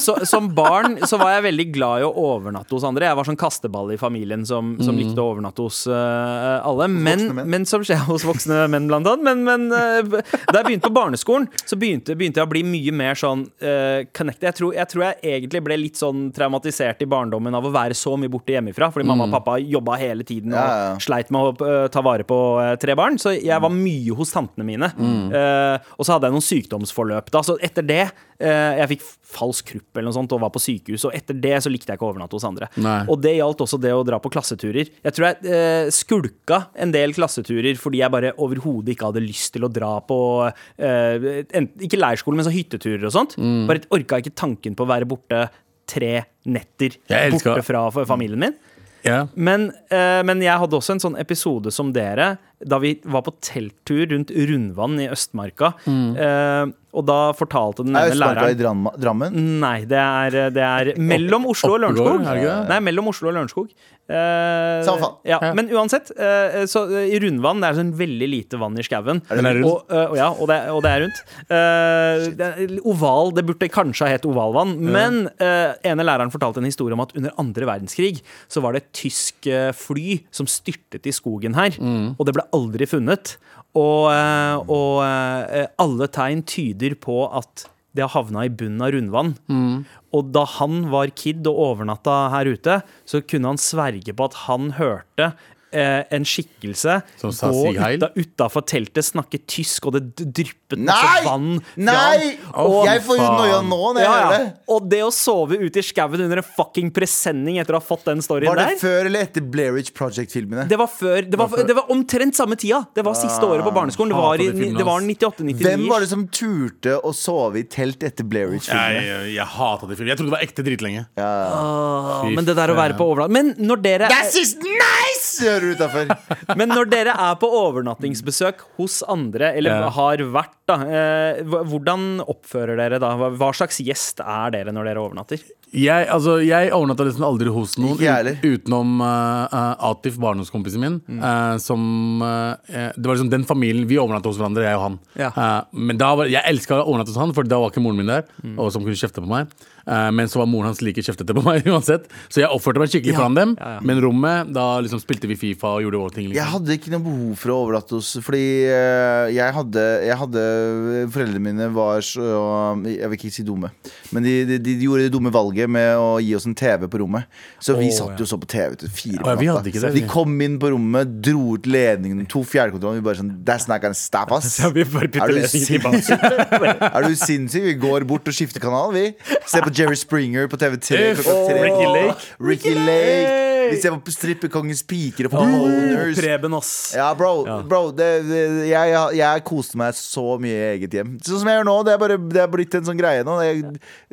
[SPEAKER 3] så, som barn så var jeg veldig glad i å overnatte hos andre. Jeg var sånn kasteball i familien som, som likte å overnatte hos eh, alle. Men,
[SPEAKER 2] Mm. voksne menn.
[SPEAKER 3] men som skjer hos voksne menn, blant annet. Men, men eh, da jeg begynte på barneskolen, så begynte, begynte jeg å bli mye mer sånn eh, connected. Jeg tror, jeg tror jeg egentlig ble litt sånn traumatisert i barndommen av å være så mye borte hjemmefra. Fordi mamma og pappa jobba hele tiden og
[SPEAKER 2] Mm. Ja, ja.
[SPEAKER 3] sleit med å eh, ta vare på eh, tre barn. Så jeg var mye hos tantene mine.
[SPEAKER 4] Mm.
[SPEAKER 3] Eh, og så hadde jeg noen sykdomsforløp da. Så etter det eh, Jeg fikk falsk krupp eller noe sånt og var på sykehus. Og etter det så likte jeg ikke å overnatte hos andre.
[SPEAKER 4] Nei.
[SPEAKER 3] Og det gjaldt også det å dra på klasseturer. Jeg tror jeg eh, skulka en del klasseturer fordi jeg bare overhodet ikke hadde lyst til å dra på eh, ent- Ikke leirskole, men så hytteturer og sånt.
[SPEAKER 4] Mm.
[SPEAKER 3] Bare orka ikke tanken på å være borte tre netter
[SPEAKER 4] Jeg elsker-
[SPEAKER 3] borte fra f- familien min.
[SPEAKER 4] Ja.
[SPEAKER 3] Men, eh, men jeg hadde også en sånn episode som dere, da vi var på telttur rundt Rundvann i Østmarka.
[SPEAKER 4] Mm.
[SPEAKER 3] Eh, og da fortalte den ene
[SPEAKER 2] Er Østmarka i
[SPEAKER 3] læreren
[SPEAKER 2] Dramma- Drammen?
[SPEAKER 3] Nei, det er, det er mellom Oslo og Lørenskog.
[SPEAKER 4] Oppegård, er det ikke det?
[SPEAKER 3] Nei, mellom Oslo og Lørenskog. Eh,
[SPEAKER 2] Samme faen.
[SPEAKER 3] ja,
[SPEAKER 4] Ja.
[SPEAKER 3] Men uansett, eh, så eh, i Rundvann Det er sånn veldig lite vann i skauen.
[SPEAKER 4] Den er rundt.
[SPEAKER 3] Og, eh, og ja, og det, er- og det er rundt. Eh, det er oval, det burde kanskje ha hett ovalvann, men eh, ene læreren fortalte en historie om at under andre verdenskrig så var det et tysk eh, fly som styrtet i skogen her,
[SPEAKER 4] Mm.
[SPEAKER 3] og det ble aldri funnet. Og, eh, og eh, alle tegn tyder på at det har havna i bunnen av rundvann.
[SPEAKER 4] Mm.
[SPEAKER 3] Og da han var kid og overnatta her ute, så kunne han sverge på at han hørte eh, en skikkelse
[SPEAKER 4] Som sa
[SPEAKER 3] gå
[SPEAKER 4] «Sig heil».
[SPEAKER 3] uta- utafor teltet, snakke tysk, og det d- dryppet masse
[SPEAKER 2] Nei!
[SPEAKER 3] vann. fra
[SPEAKER 2] Nei!
[SPEAKER 3] han.
[SPEAKER 4] Å,
[SPEAKER 2] Jeg får jo
[SPEAKER 4] faen.
[SPEAKER 2] noia nå når jeg
[SPEAKER 3] Ja,
[SPEAKER 2] hører
[SPEAKER 3] ja.
[SPEAKER 2] det.
[SPEAKER 3] Og det å sove ute i skauen under en fucking presenning etter å ha fått den storyen
[SPEAKER 2] Var det
[SPEAKER 3] der
[SPEAKER 2] før eller etter Blairich Project-filmene?
[SPEAKER 3] det var, før, det, var, det var omtrent samme tida. Det var siste året på barneskolen. Det
[SPEAKER 4] Ah,
[SPEAKER 3] var,
[SPEAKER 4] for
[SPEAKER 3] i-
[SPEAKER 4] de filmene,
[SPEAKER 3] det var
[SPEAKER 4] ass.
[SPEAKER 3] 98-99.
[SPEAKER 2] Hvem var det som turte å sove i telt etter
[SPEAKER 4] Jeg,
[SPEAKER 2] Blairich-filmene?
[SPEAKER 4] jeg, jeg hata det filmet. Jeg trodde det var ekte dritlenge. Fy
[SPEAKER 3] Men det der å være på overland Men når dere
[SPEAKER 2] This is nice! Hører du utafor.
[SPEAKER 3] <laughs> Men når dere er på overnattingsbesøk hos andre, eller
[SPEAKER 4] Ja.
[SPEAKER 3] har vært, da, eh, hva- hvordan oppfører dere da? Hva hva slags gjest er dere når dere overnatter?
[SPEAKER 4] Jeg, altså, jeg overnatta nesten aldri hos noen
[SPEAKER 2] Ikke jeg
[SPEAKER 4] ut- utenom eh, eh, Atif, barndomskompisen min.
[SPEAKER 2] Mm.
[SPEAKER 4] eh, som, eh, eh, det var liksom den familien vi overnatta hos hverandre, jeg og han. Eh, men da var, Jeg elska å overnatte hos han, for da var ikke moren min der.
[SPEAKER 2] Mm.
[SPEAKER 4] Og som kunne kjefte på meg Eh, Men så var moren hans like kjeftete på <laughs> meg uansett. Så jeg oppførte meg skikkelig foran dem. Men rommet, da liksom spilte vi Fifa og gjorde våre ting.
[SPEAKER 2] Jeg
[SPEAKER 4] Liksom. <laughs>
[SPEAKER 2] hadde ikke noe behov for å overnatte hos Fordi eh, jeg hadde, jeg hadde Foreldrene mine var så Jeg vil ikke si dumme, men de, de, de gjorde det dumme valget med å gi oss en TV på rommet. Så vi satt jo så på TV til fire
[SPEAKER 4] Å, ja, vi
[SPEAKER 2] på
[SPEAKER 4] hadde
[SPEAKER 2] natta.
[SPEAKER 4] ikke det,
[SPEAKER 2] de
[SPEAKER 4] vi.
[SPEAKER 2] kom inn på rommet, dro ut ledningen, to fjernkontroller. Vi bare sånn That's not gonna stop
[SPEAKER 4] <laughs>
[SPEAKER 2] us. Er du sinnssyk? <laughs> Er du sinnssyk? Vi går bort og skifter kanal, vi. Ser på Jerry Springer på TV3 klokka tre.
[SPEAKER 4] Ricky Lake.
[SPEAKER 2] Ricky Lake. Vi ser på Strippekongens piker og på Owners.
[SPEAKER 3] Preben, ass.
[SPEAKER 2] Ja, bro. bro det, det, jeg, jeg, jeg koste meg så mye i eget hjem. Sånn som jeg gjør nå. Det er, bare, det er blitt en sånn greie nå. Jeg,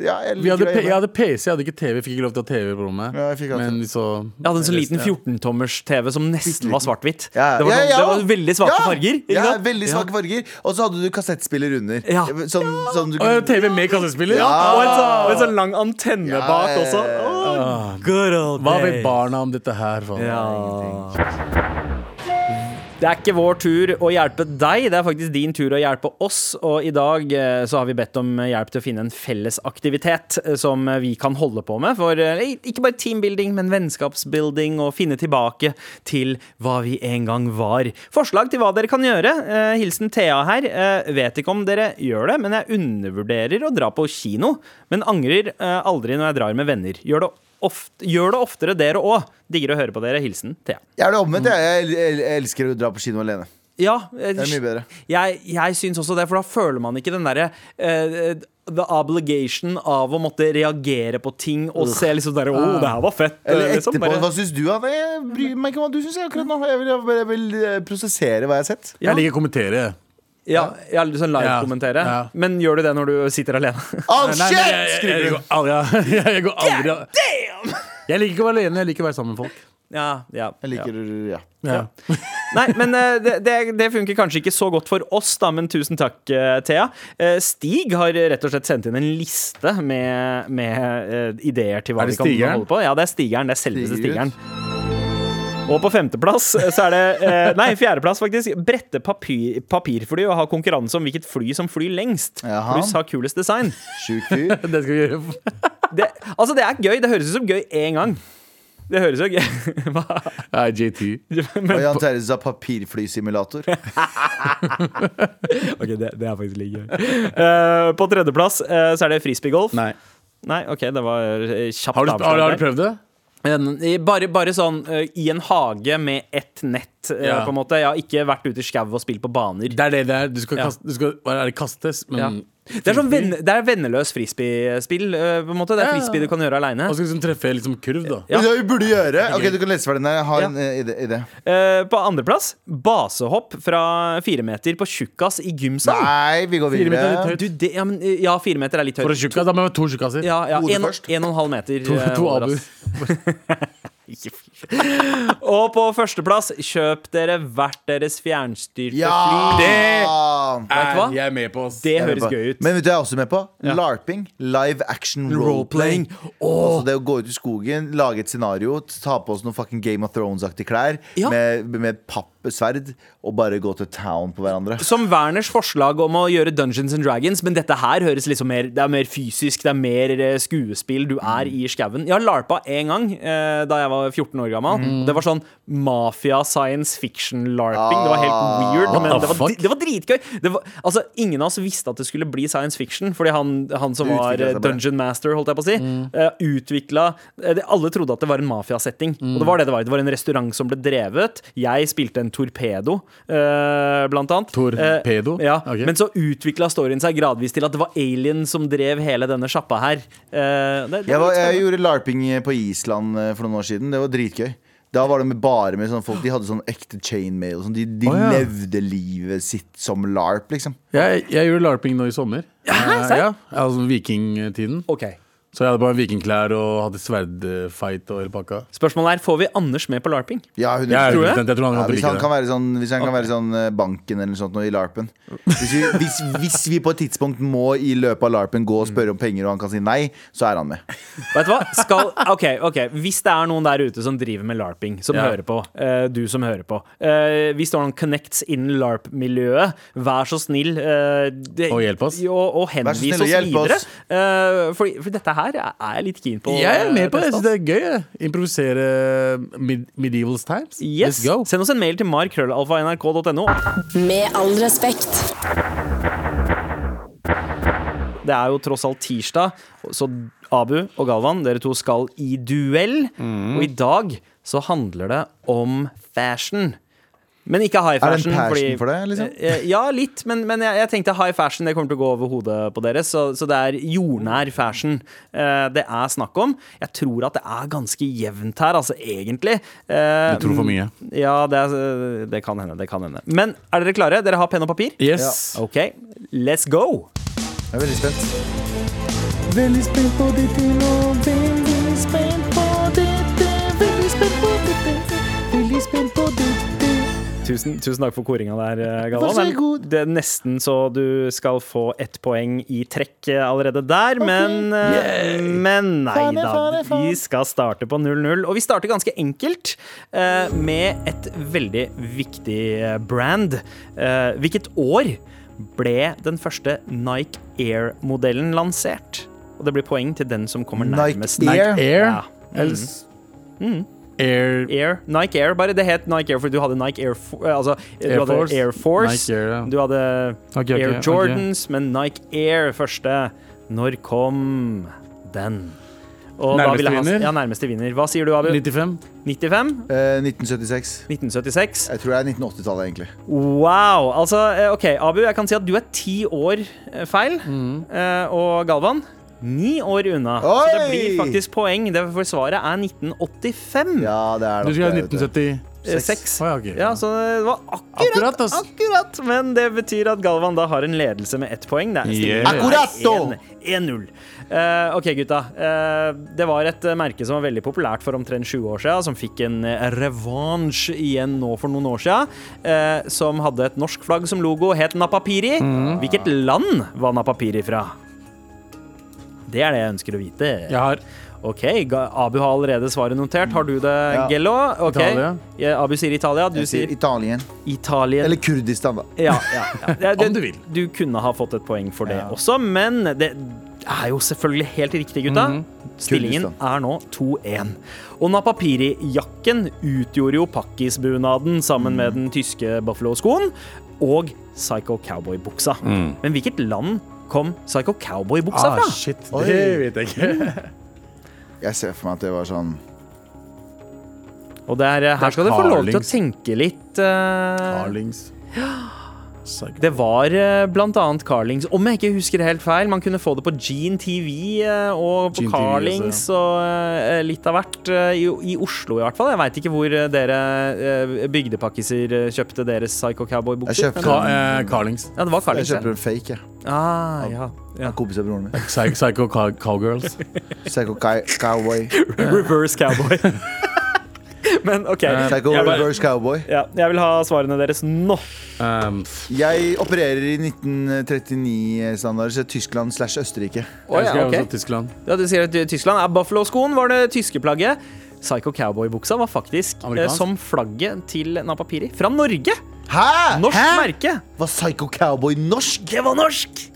[SPEAKER 2] ja, jeg liker
[SPEAKER 4] Vi hadde,
[SPEAKER 2] det
[SPEAKER 4] P- jeg
[SPEAKER 2] hjemme.
[SPEAKER 4] hadde PC, jeg hadde ikke TV. Fikk ikke lov til å ha TV på rommet.
[SPEAKER 2] Ja, jeg fikk altså- alltid-
[SPEAKER 4] men så
[SPEAKER 3] Jeg hadde en sånn liten 14-tommers-TV som nesten var svart-hvitt. Det,
[SPEAKER 2] Ja,
[SPEAKER 3] var
[SPEAKER 2] ja,
[SPEAKER 3] sånn,
[SPEAKER 2] ja.
[SPEAKER 3] det var veldig svake
[SPEAKER 2] Ja,
[SPEAKER 3] farger. Ikke
[SPEAKER 2] Ja,
[SPEAKER 3] sant?
[SPEAKER 2] veldig svake farger. Og så hadde du kassettspiller under.
[SPEAKER 3] Ja.
[SPEAKER 2] Sånn, sånn du
[SPEAKER 4] Å, ja,
[SPEAKER 2] kunne
[SPEAKER 4] TV med kassespiller?
[SPEAKER 3] Ja, og, en sånn, og en sånn lang antenne
[SPEAKER 2] Ja,
[SPEAKER 3] bak
[SPEAKER 2] ja,
[SPEAKER 3] også.
[SPEAKER 2] ja,
[SPEAKER 3] Åh, good old
[SPEAKER 4] Hva vet
[SPEAKER 3] days.
[SPEAKER 4] barna om dette her? faen?
[SPEAKER 3] Det er ikke vår tur å hjelpe deg, det er faktisk din tur å hjelpe oss. Og i dag eh, så har vi bedt om hjelp til å finne en felles aktivitet eh, som vi kan holde på med. For eh, ikke bare teambuilding, men vennskapsbuilding, og finne tilbake til hva vi en gang var. Forslag til hva dere kan gjøre. Eh, Hilsen Thea her. Eh, Vet ikke om dere gjør det, men jeg undervurderer å dra på kino. Men angrer eh, aldri når jeg drar med venner. Gjør det, ofte, gjør det oftere, dere òg. Digger å høre på dere. Hilsen Thea.
[SPEAKER 2] Jeg er det omvendt. Jeg, jeg, jeg, jeg elsker å dra på kino alene.
[SPEAKER 3] Ja, eh,
[SPEAKER 2] Det er mye bedre.
[SPEAKER 3] Jeg, jeg syns også det, for da føler man ikke den derre eh, The obligation av å måtte reagere på ting og se liksom der, oh, det her var fett.
[SPEAKER 2] Eller
[SPEAKER 3] liksom,
[SPEAKER 2] etterpå.
[SPEAKER 3] bare-
[SPEAKER 2] Hva syns du? Anne? Jeg bryr meg ikke om hva du syns jeg akkurat nå. Jeg vil, jeg vil eh, prosessere hva jeg har sett.
[SPEAKER 4] Jeg liker å kommentere.
[SPEAKER 3] Ja, jeg har litt sånn live-kommentere.
[SPEAKER 4] Ja, ja.
[SPEAKER 3] Men gjør du det når du sitter alene?
[SPEAKER 2] Oh
[SPEAKER 4] Nei,
[SPEAKER 2] shit!
[SPEAKER 4] nei, jeg, jeg, jeg, går aldri, jeg, <laughs> jeg går
[SPEAKER 3] <laughs>
[SPEAKER 4] aldri Jeg liker ikke å være alene, jeg liker å være sammen med folk.
[SPEAKER 3] Ja, ja,
[SPEAKER 2] Jeg liker ja.
[SPEAKER 4] Ja.
[SPEAKER 3] Nei, men eh, det, det, det funker kanskje ikke så godt for oss, da, men tusen takk, eh, Thea. Eh, Stig har rett og slett sendt inn en liste med, med eh, ideer til hva
[SPEAKER 4] Er
[SPEAKER 3] vi
[SPEAKER 4] det
[SPEAKER 3] kan
[SPEAKER 4] Stigeren?
[SPEAKER 3] holde på. Ja, det er Stigeren. Det er selveste
[SPEAKER 2] Stigeren.
[SPEAKER 3] Stigeren. Og på femteplass eh, så er det eh, Nei, fjerdeplass, faktisk. Brette papir, papirfly og ha konkurranse om hvilket fly som flyr lengst.
[SPEAKER 2] Jaha.
[SPEAKER 3] Pluss ha kulest design.
[SPEAKER 2] Sjuk
[SPEAKER 4] <laughs>
[SPEAKER 2] fyr.
[SPEAKER 4] Det skal vi gjøre.
[SPEAKER 3] Det, altså, det er gøy. Det høres ut som gøy én gang. Det høres jo gøy <laughs> Hva?
[SPEAKER 4] Nei, JT.
[SPEAKER 2] Og Jan Terje sa papirflysimulator.
[SPEAKER 3] Ok, det, det er faktisk litt gøy. Eh, på tredjeplass eh, så er det frisbeegolf.
[SPEAKER 4] Nei.
[SPEAKER 3] Nei, OK, det var eh, kjapt
[SPEAKER 4] Har du, har, har du
[SPEAKER 3] der.
[SPEAKER 4] prøvd det?
[SPEAKER 3] Men, eh, Bare, bare sånn eh, i en hage med ett nett, eh,
[SPEAKER 4] Ja.
[SPEAKER 3] på en måte. Jeg har ikke vært ute i skau og spilt på baner.
[SPEAKER 4] Det er det det er. Du skal,
[SPEAKER 3] Ja.
[SPEAKER 4] kaste, du skal hva er det, kastes, men
[SPEAKER 3] Ja. Det er sånn venne, det er venneløs frisbeespill, eh, på en måte. Det
[SPEAKER 4] Ja.
[SPEAKER 3] er frisbee du kan gjøre aleine.
[SPEAKER 4] Og skal liksom treffe liksom kurv, da.
[SPEAKER 3] Ja.
[SPEAKER 2] Det vi burde gjøre Ok, Du kan lese ferdig den her. Jeg har en eh, ide- idé.
[SPEAKER 3] På andreplass, basehopp fra fire meter på tjukkas i gymsal.
[SPEAKER 2] Nei, vi går
[SPEAKER 4] Fire meter er
[SPEAKER 2] videre.
[SPEAKER 4] litt høyt.
[SPEAKER 3] Du, det, ja, men, eh, ja, fire meter er litt
[SPEAKER 4] For
[SPEAKER 3] høyt.
[SPEAKER 4] en tjukkas, da må jeg ha to tjukkaser.
[SPEAKER 3] Ja, ja,
[SPEAKER 2] Hodet
[SPEAKER 3] en,
[SPEAKER 2] først.
[SPEAKER 3] en og en halv meter.
[SPEAKER 4] To,
[SPEAKER 3] eh,
[SPEAKER 4] to
[SPEAKER 3] holder,
[SPEAKER 4] abu.
[SPEAKER 3] ass. Og på førsteplass, kjøp dere hvert deres fjernstyrte
[SPEAKER 2] Ja!
[SPEAKER 3] fly.
[SPEAKER 4] Nei,
[SPEAKER 3] hva?
[SPEAKER 4] Jeg er med på oss.
[SPEAKER 3] Det
[SPEAKER 2] Jeg er med
[SPEAKER 3] høres
[SPEAKER 2] på.
[SPEAKER 3] gøy ut.
[SPEAKER 2] Men vet du hva jeg er også med på? LARPing. Live action roleplaying. Altså det å gå ut i skogen, lage et scenario, ta på oss noen fucking Game of Thrones-aktige klær
[SPEAKER 3] Ja.
[SPEAKER 2] med, med pappsverd og bare gå til town på hverandre.
[SPEAKER 3] Som Werners forslag om å gjøre Dungeons and Dragons, men dette her høres liksom mer Det er mer fysisk, det er mer eh, skuespill. Du er i skauen. Jeg har larpa én gang eh, da jeg var 14 år gammel. Det var sånn mafia-science fiction-larping. Det var helt weird,
[SPEAKER 4] What
[SPEAKER 3] men
[SPEAKER 4] the
[SPEAKER 3] det var,
[SPEAKER 4] fuck?
[SPEAKER 3] dri- det var dritgøy. Det var, altså, ingen av oss visste at det skulle bli science fiction, fordi han, han som
[SPEAKER 2] Det
[SPEAKER 3] var
[SPEAKER 2] utviklet
[SPEAKER 3] eh,
[SPEAKER 2] seg bare.
[SPEAKER 3] Dungeon Master, holdt jeg på å si, eh, utvikla eh, det- Alle trodde at det var en mafiasetting, og det var det det var. Det var en restaurant som ble drevet. Jeg spilte en torpedo, eh, blant annet.
[SPEAKER 4] Torpedo?
[SPEAKER 3] Eh, ja.
[SPEAKER 4] Ok.
[SPEAKER 3] Men så utvikla storyen seg gradvis til at det var alien som drev hele denne sjappa her. Eh, det, det
[SPEAKER 2] Jeg, var,
[SPEAKER 3] litt
[SPEAKER 2] jeg
[SPEAKER 3] spennende.
[SPEAKER 2] gjorde larping på Island eh, for noen år siden. Det var dritgøy. Da var det med bare med sånne folk De hadde sånn ekte chainmail. og Sånn. De, de
[SPEAKER 4] Å, ja.
[SPEAKER 2] levde livet sitt som larp, liksom.
[SPEAKER 4] Jeg, jeg gjorde larping nå i sommer. Eh, ja, altså Vikingtiden.
[SPEAKER 3] Ok.
[SPEAKER 4] Så jeg hadde bare vikingklær og hadde sverdfight og hele pakka.
[SPEAKER 3] Spørsmålet er, får vi Anders med på larping?
[SPEAKER 2] Ja, hun-
[SPEAKER 4] Jeg,
[SPEAKER 3] Tror
[SPEAKER 4] tror
[SPEAKER 3] du
[SPEAKER 4] jeg, tror han
[SPEAKER 2] Ja,
[SPEAKER 4] kommer
[SPEAKER 2] hvis
[SPEAKER 4] til å
[SPEAKER 2] han kan
[SPEAKER 4] like det.
[SPEAKER 2] være sånn, hvis han kan være sånn eh, banken eller noe sånt nå i larpen hvis vi, hvis, hvis vi på et tidspunkt må i løpet av larpen gå og spørre om penger, og han kan si nei, så er han med.
[SPEAKER 3] Vet du hva? Skal, ok, ok Hvis det er noen der ute som driver med larping, som
[SPEAKER 4] Ja.
[SPEAKER 3] hører på, eh, du som hører på eh, Hvis det er noen connects innen larp-miljøet, vær så snill eh, det-
[SPEAKER 4] Og hjelp oss.
[SPEAKER 3] Jo, Og,
[SPEAKER 2] Vær så snill
[SPEAKER 3] henvis
[SPEAKER 2] og
[SPEAKER 3] oss
[SPEAKER 2] hjelp
[SPEAKER 3] videre.
[SPEAKER 2] oss.
[SPEAKER 3] Eh, for, for dette her er jeg litt keen på.
[SPEAKER 4] Jeg er med på
[SPEAKER 3] eh,
[SPEAKER 4] det. Jeg synes det er gøy. jeg. Improvisere mid medieval times.
[SPEAKER 3] Yes.
[SPEAKER 4] Let's go.
[SPEAKER 3] Send oss en mail til markrøllalfa.nrk.no.
[SPEAKER 5] Med all respekt.
[SPEAKER 3] Det er jo tross alt tirsdag, så Abu og Galvan, dere to skal i duell.
[SPEAKER 2] Mm.
[SPEAKER 3] Og i dag så handler det om fashion. Men ikke high
[SPEAKER 2] Er det
[SPEAKER 3] fashion.
[SPEAKER 2] en passion
[SPEAKER 3] fordi-
[SPEAKER 2] for det, liksom?
[SPEAKER 3] Eh, Ja, litt, men, men jeg, jeg tenkte high fashion det kommer til å gå over hodet på dere. Så, så det er jordnær fashion eh, det er snakk om. Jeg tror at det er ganske jevnt her, altså egentlig. Eh,
[SPEAKER 4] Du tror for mye.
[SPEAKER 3] Ja, det, er, eh, det kan hende. Det kan hende. Men er dere klare? Dere har penn og papir?
[SPEAKER 4] Yes.
[SPEAKER 3] OK, let's go!
[SPEAKER 2] Jeg er veldig spent.
[SPEAKER 4] Veldig spent på ditt nå. Veldig spent på dette. Veldig spent på dette. Veldig spent på dette.
[SPEAKER 3] Tusen, tusen takk for koringa der, eh, Galvan. Det er nesten så du skal få ett poeng i trekk eh, allerede der, men, eh, men nei da. Vi skal starte på 0-0, og vi starter ganske enkelt eh, med et veldig viktig eh, brand. Eh, Hvilket år ble den første Nike Air-modellen lansert? Og det blir poeng til den som kommer
[SPEAKER 2] Nike
[SPEAKER 3] nærmest.
[SPEAKER 2] Air?
[SPEAKER 4] Air.
[SPEAKER 3] Ja. Mm.
[SPEAKER 4] Ellers Air
[SPEAKER 3] Air. Nike Air, bare det het Nike Air, for du hadde Nike Air, Fo- eh, altså,
[SPEAKER 4] Air
[SPEAKER 3] du hadde
[SPEAKER 4] Force.
[SPEAKER 3] Air Force.
[SPEAKER 4] Nike Air, ja.
[SPEAKER 3] Du hadde
[SPEAKER 4] Ok, ok,
[SPEAKER 3] Air
[SPEAKER 4] ok.
[SPEAKER 3] Jordans, men Nike Air første. Når kom den? Og da
[SPEAKER 4] Nærmeste
[SPEAKER 3] ville han-
[SPEAKER 4] vinner?
[SPEAKER 3] Ja, nærmeste vinner. Hva sier du, Abu?
[SPEAKER 4] 95.
[SPEAKER 3] 95?
[SPEAKER 2] Eh, 1976.
[SPEAKER 3] 1976?
[SPEAKER 2] Jeg tror det er 1980-tallet, egentlig.
[SPEAKER 3] Wow! Altså, eh, OK, Abu, jeg kan si at du er ti år eh, feil.
[SPEAKER 4] Mm.
[SPEAKER 3] Eh, Og Galvan? Ni år unna. Så det
[SPEAKER 2] Oi!
[SPEAKER 3] blir faktisk poeng. Det- For svaret er 1985.
[SPEAKER 2] Ja, det er
[SPEAKER 4] Du
[SPEAKER 2] nok
[SPEAKER 4] skal ha
[SPEAKER 2] det, vet du.
[SPEAKER 4] 1976.
[SPEAKER 3] Eh, Seks.
[SPEAKER 4] Å, ja, ok.
[SPEAKER 3] Ja, så det var akkurat,
[SPEAKER 4] Akkurat,
[SPEAKER 3] akkurat,
[SPEAKER 4] ass.
[SPEAKER 3] Men det betyr at Galvan da har en ledelse med ett poeng. Det er stillingen
[SPEAKER 4] Yeah.
[SPEAKER 3] er
[SPEAKER 2] Akkuratto!
[SPEAKER 3] 1-0. Eh, ok, gutta. Eh, det var et eh, merke som var veldig populært for omtrent 20 år siden, som fikk en eh, revansj igjen nå for noen år siden. eh, som hadde et norsk flagg som logo, het Napapiri. Hvilket land var Napapiri fra? Det er det jeg ønsker å vite.
[SPEAKER 4] Jeg har
[SPEAKER 3] Ok, Ga- Abu har allerede svaret notert. Har du det, Gello? Ok.
[SPEAKER 4] Italia.
[SPEAKER 3] Ja, Abu sier Italia, du
[SPEAKER 2] Jeg sier
[SPEAKER 3] sier
[SPEAKER 2] Italien.
[SPEAKER 3] Italien.
[SPEAKER 2] Eller Kurdistan, da.
[SPEAKER 3] ja, ja, ja. Det,
[SPEAKER 4] <laughs>
[SPEAKER 3] det,
[SPEAKER 4] Om du vil.
[SPEAKER 3] Du kunne ha fått et poeng for det også, men det er jo selvfølgelig helt riktig, gutta.
[SPEAKER 4] Mhm.
[SPEAKER 3] Stillingen er nå 2-1. Og Napapiri-jakken utgjorde jo pakkisbunaden sammen
[SPEAKER 4] Mhm.
[SPEAKER 3] med den tyske Buffalo-skoen og Psycho Cowboy-buksa. Men hvilket land kom Psycho Cowboy-buksa
[SPEAKER 4] Mm. ah,
[SPEAKER 3] fra?
[SPEAKER 4] Shit, det vet jeg ikke.
[SPEAKER 2] Jeg ser for meg at det var sånn
[SPEAKER 3] Og det er, eh, her skal dere få lov til å
[SPEAKER 4] Carlings.
[SPEAKER 3] tenke litt. eh,
[SPEAKER 4] Carlings.
[SPEAKER 3] Det var eh, blant annet Carlings. Om jeg ikke husker helt feil, man kunne få det på Gene TV eh, og på
[SPEAKER 4] Gene TV,
[SPEAKER 3] Carlings
[SPEAKER 4] altså,
[SPEAKER 3] og eh, litt av hvert. eh, I, I Oslo i hvert fall. Jeg veit ikke hvor eh, dere eh, bygdepakkiser eh, kjøpte deres Psycho
[SPEAKER 2] Jeg
[SPEAKER 3] Cowboy-bukser.
[SPEAKER 2] kjøpte-
[SPEAKER 3] men-
[SPEAKER 4] Ka eh, Carlings.
[SPEAKER 3] Ja, det var
[SPEAKER 2] Jeg
[SPEAKER 3] Carlings.
[SPEAKER 2] kjøper en fake, jeg.
[SPEAKER 3] ja. Ah, ja, ja.
[SPEAKER 2] <laughs> En kompis av broren min.
[SPEAKER 4] Psy- Psycho cow <laughs> Cowgirls.
[SPEAKER 2] Psycho cow- cowboy.
[SPEAKER 3] Reverse cowboy. <laughs> men OK.
[SPEAKER 2] Psycho
[SPEAKER 3] Jeg, bare,
[SPEAKER 2] reverse cowboy.
[SPEAKER 3] ja, jeg vil ha svarene deres nå.
[SPEAKER 4] Um, f-
[SPEAKER 2] Jeg opererer i 1939-standard, så Tyskland slash Østerrike.
[SPEAKER 3] Å,
[SPEAKER 4] jeg
[SPEAKER 3] ja,
[SPEAKER 4] skal
[SPEAKER 3] ok.
[SPEAKER 4] også til Tyskland.
[SPEAKER 3] Ja, du sier at Tyskland er Buffalo-skoen, var det tyske plagget. Psycho Cowboy-buksa var faktisk eh,
[SPEAKER 4] Amerikansk.
[SPEAKER 3] som flagget til Napapiri. Fra Norge!
[SPEAKER 2] Hæ?!
[SPEAKER 3] Norsk
[SPEAKER 2] Hæ?
[SPEAKER 3] merke.
[SPEAKER 2] Var Psycho Cowboy norsk?
[SPEAKER 3] Det var norsk!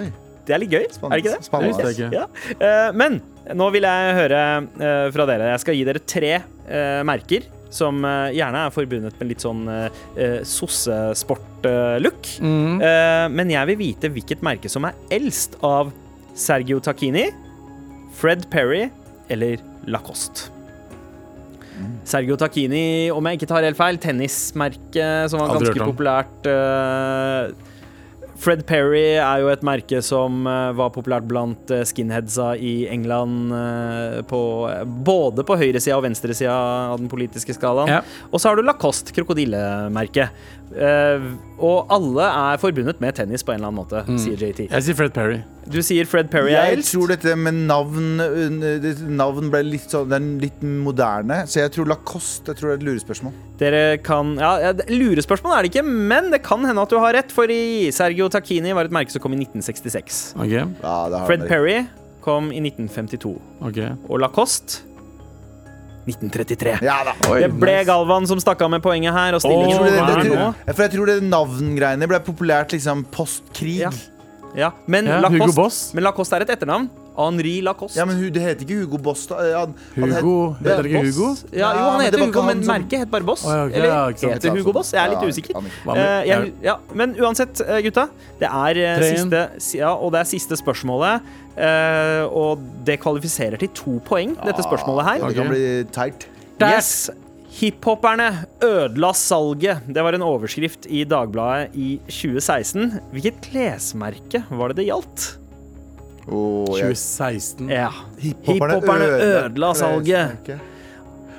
[SPEAKER 2] Oi.
[SPEAKER 3] Det er litt gøy, er det ikke det?
[SPEAKER 4] Det
[SPEAKER 2] Spennende.
[SPEAKER 4] visste jeg ikke.
[SPEAKER 3] Ja. Eh, Men nå vil jeg høre eh, fra dere. Jeg skal gi dere tre eh, merker som eh, gjerne er forbundet med litt sånn eh, sossesport-look. Eh, Men jeg vil vite hvilket merke som er eldst av Sergio Tacchini, Fred Perry eller Lacoste. Sergio Tacchini, om jeg ikke tar helt feil, tennismerke som var
[SPEAKER 4] Aldri hørt
[SPEAKER 3] ganske
[SPEAKER 4] om.
[SPEAKER 3] populært. eh, Fred Perry er jo et merke som eh, var populært blant eh, skinheadsa i England. eh, På, både på høyresida og venstresida av den politiske skalaen.
[SPEAKER 4] Ja.
[SPEAKER 3] Og så har du Lacoste, krokodillemerket. Eh, og alle er forbundet med tennis på en eller annen måte,
[SPEAKER 4] Mm.
[SPEAKER 3] sier JT.
[SPEAKER 4] Jeg sier Fred Perry.
[SPEAKER 3] Du sier Fred Perry er
[SPEAKER 2] Jeg
[SPEAKER 3] eldst.
[SPEAKER 2] tror dette med navn uh, det- Navn ble litt sånn Det er litt moderne, så jeg tror Lacoste. Jeg tror det er et lurespørsmål.
[SPEAKER 3] Dere kan ja, ja, det- Lurespørsmål er det ikke, men det kan hende at du har rett, for i Sergio Tacchini var et merke som kom i 1966.
[SPEAKER 4] Ok,
[SPEAKER 2] Ja, det har
[SPEAKER 3] Fred
[SPEAKER 2] dere.
[SPEAKER 3] Perry kom i 1952,
[SPEAKER 4] ok
[SPEAKER 3] og Lacoste 1933.
[SPEAKER 2] Ja da.
[SPEAKER 3] Det ble Galvan som stakk av med poenget her, og stillingen
[SPEAKER 4] Åh,
[SPEAKER 2] Jeg tror det,
[SPEAKER 4] hva er
[SPEAKER 2] jeg
[SPEAKER 3] er
[SPEAKER 4] det nå?
[SPEAKER 2] tror, for jeg tror det navngreiene ble populært liksom postkrig.
[SPEAKER 3] Ja.
[SPEAKER 2] Ja.
[SPEAKER 3] nå ja. Men,
[SPEAKER 4] Ja, Hugo Boss.
[SPEAKER 3] Lacoste, men Lacoste er et etternavn. Henri Lacoste.
[SPEAKER 2] men hu- det heter ikke Hugo Boss, da. Eh, Han, han het-
[SPEAKER 4] Hugo. Heter det ikke
[SPEAKER 3] Boss?
[SPEAKER 4] Hugo?
[SPEAKER 3] Ja, jo,
[SPEAKER 2] Ja,
[SPEAKER 3] han
[SPEAKER 2] men det
[SPEAKER 3] heter
[SPEAKER 2] var
[SPEAKER 3] Hugo,
[SPEAKER 2] ikke han
[SPEAKER 3] men
[SPEAKER 2] som-
[SPEAKER 3] merket het bare Boss.
[SPEAKER 4] Å, ja, ok,
[SPEAKER 3] Eller
[SPEAKER 4] ja, ikke sant.
[SPEAKER 3] heter Hugo Boss? Jeg er litt
[SPEAKER 2] Ja,
[SPEAKER 3] usikker.
[SPEAKER 2] aner ikke.
[SPEAKER 3] Eh,
[SPEAKER 4] Hva med-
[SPEAKER 3] jeg, ja, men uansett, eh, gutta. Det er, eh,
[SPEAKER 4] Tre igjen.
[SPEAKER 3] siste, si- ja, og det er siste spørsmålet. eh, og det kvalifiserer til to poeng, dette
[SPEAKER 4] Ah,
[SPEAKER 3] spørsmålet her.
[SPEAKER 2] Det kan bli teit.
[SPEAKER 3] Yes. Hiphoperne ødela salget. Det var en overskrift i Dagbladet i 2016. Hvilket klesmerke var det det gjaldt?
[SPEAKER 2] Åh, jeg-
[SPEAKER 4] 2016.
[SPEAKER 3] Ja. Hiphoperne ødela salget.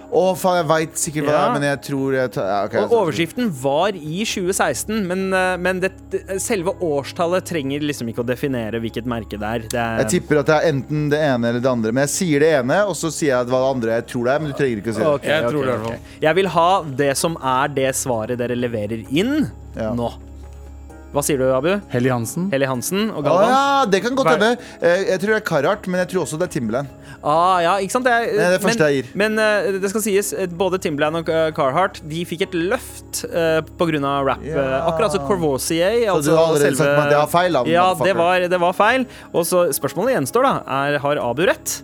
[SPEAKER 2] Å, faen, jeg veit sikkert hva det
[SPEAKER 3] Ja.
[SPEAKER 2] er, men jeg tror jeg tar, ja, ok, jeg
[SPEAKER 3] Og
[SPEAKER 2] tar-
[SPEAKER 3] overskriften var i 2016, men, eh, men det, det- selve årstallet trenger liksom ikke å definere hvilket merke det er. Det er
[SPEAKER 2] Jeg tipper at det er enten det ene eller det andre. Men jeg sier det ene, og så sier jeg hva det andre jeg tror det er. Men du trenger ikke å si det.
[SPEAKER 3] Ok,
[SPEAKER 4] Jeg
[SPEAKER 3] ok,
[SPEAKER 4] tror det i
[SPEAKER 3] ok.
[SPEAKER 4] hvert fall.
[SPEAKER 3] Jeg vil ha det som er det svaret dere leverer inn
[SPEAKER 2] Ja.
[SPEAKER 3] nå. Hva sier du, Abu?
[SPEAKER 4] Helly Hansen.
[SPEAKER 3] Helly Hansen og
[SPEAKER 2] Å
[SPEAKER 3] Galvan?
[SPEAKER 2] ja, det kan godt
[SPEAKER 3] Hva-
[SPEAKER 2] hende. Eh, Jeg tror det er Carhartt, men jeg tror også det er Timberland.
[SPEAKER 3] Ah, ja, ikke sant? Det er,
[SPEAKER 2] Det er det første
[SPEAKER 3] men,
[SPEAKER 2] jeg gir.
[SPEAKER 3] Men eh, det skal sies, eh, både Timbaland og eh, Carhartt De fikk et løft eh, på grunn av rap. eh,
[SPEAKER 2] Ja.
[SPEAKER 3] Akkurat som Corvosier.
[SPEAKER 2] Så du har allerede sagt meg at det var feil, da,
[SPEAKER 3] Ja, det
[SPEAKER 2] motherfucker.
[SPEAKER 3] var, det var feil. Og så spørsmålet gjenstår, da. Er, har Abu rett?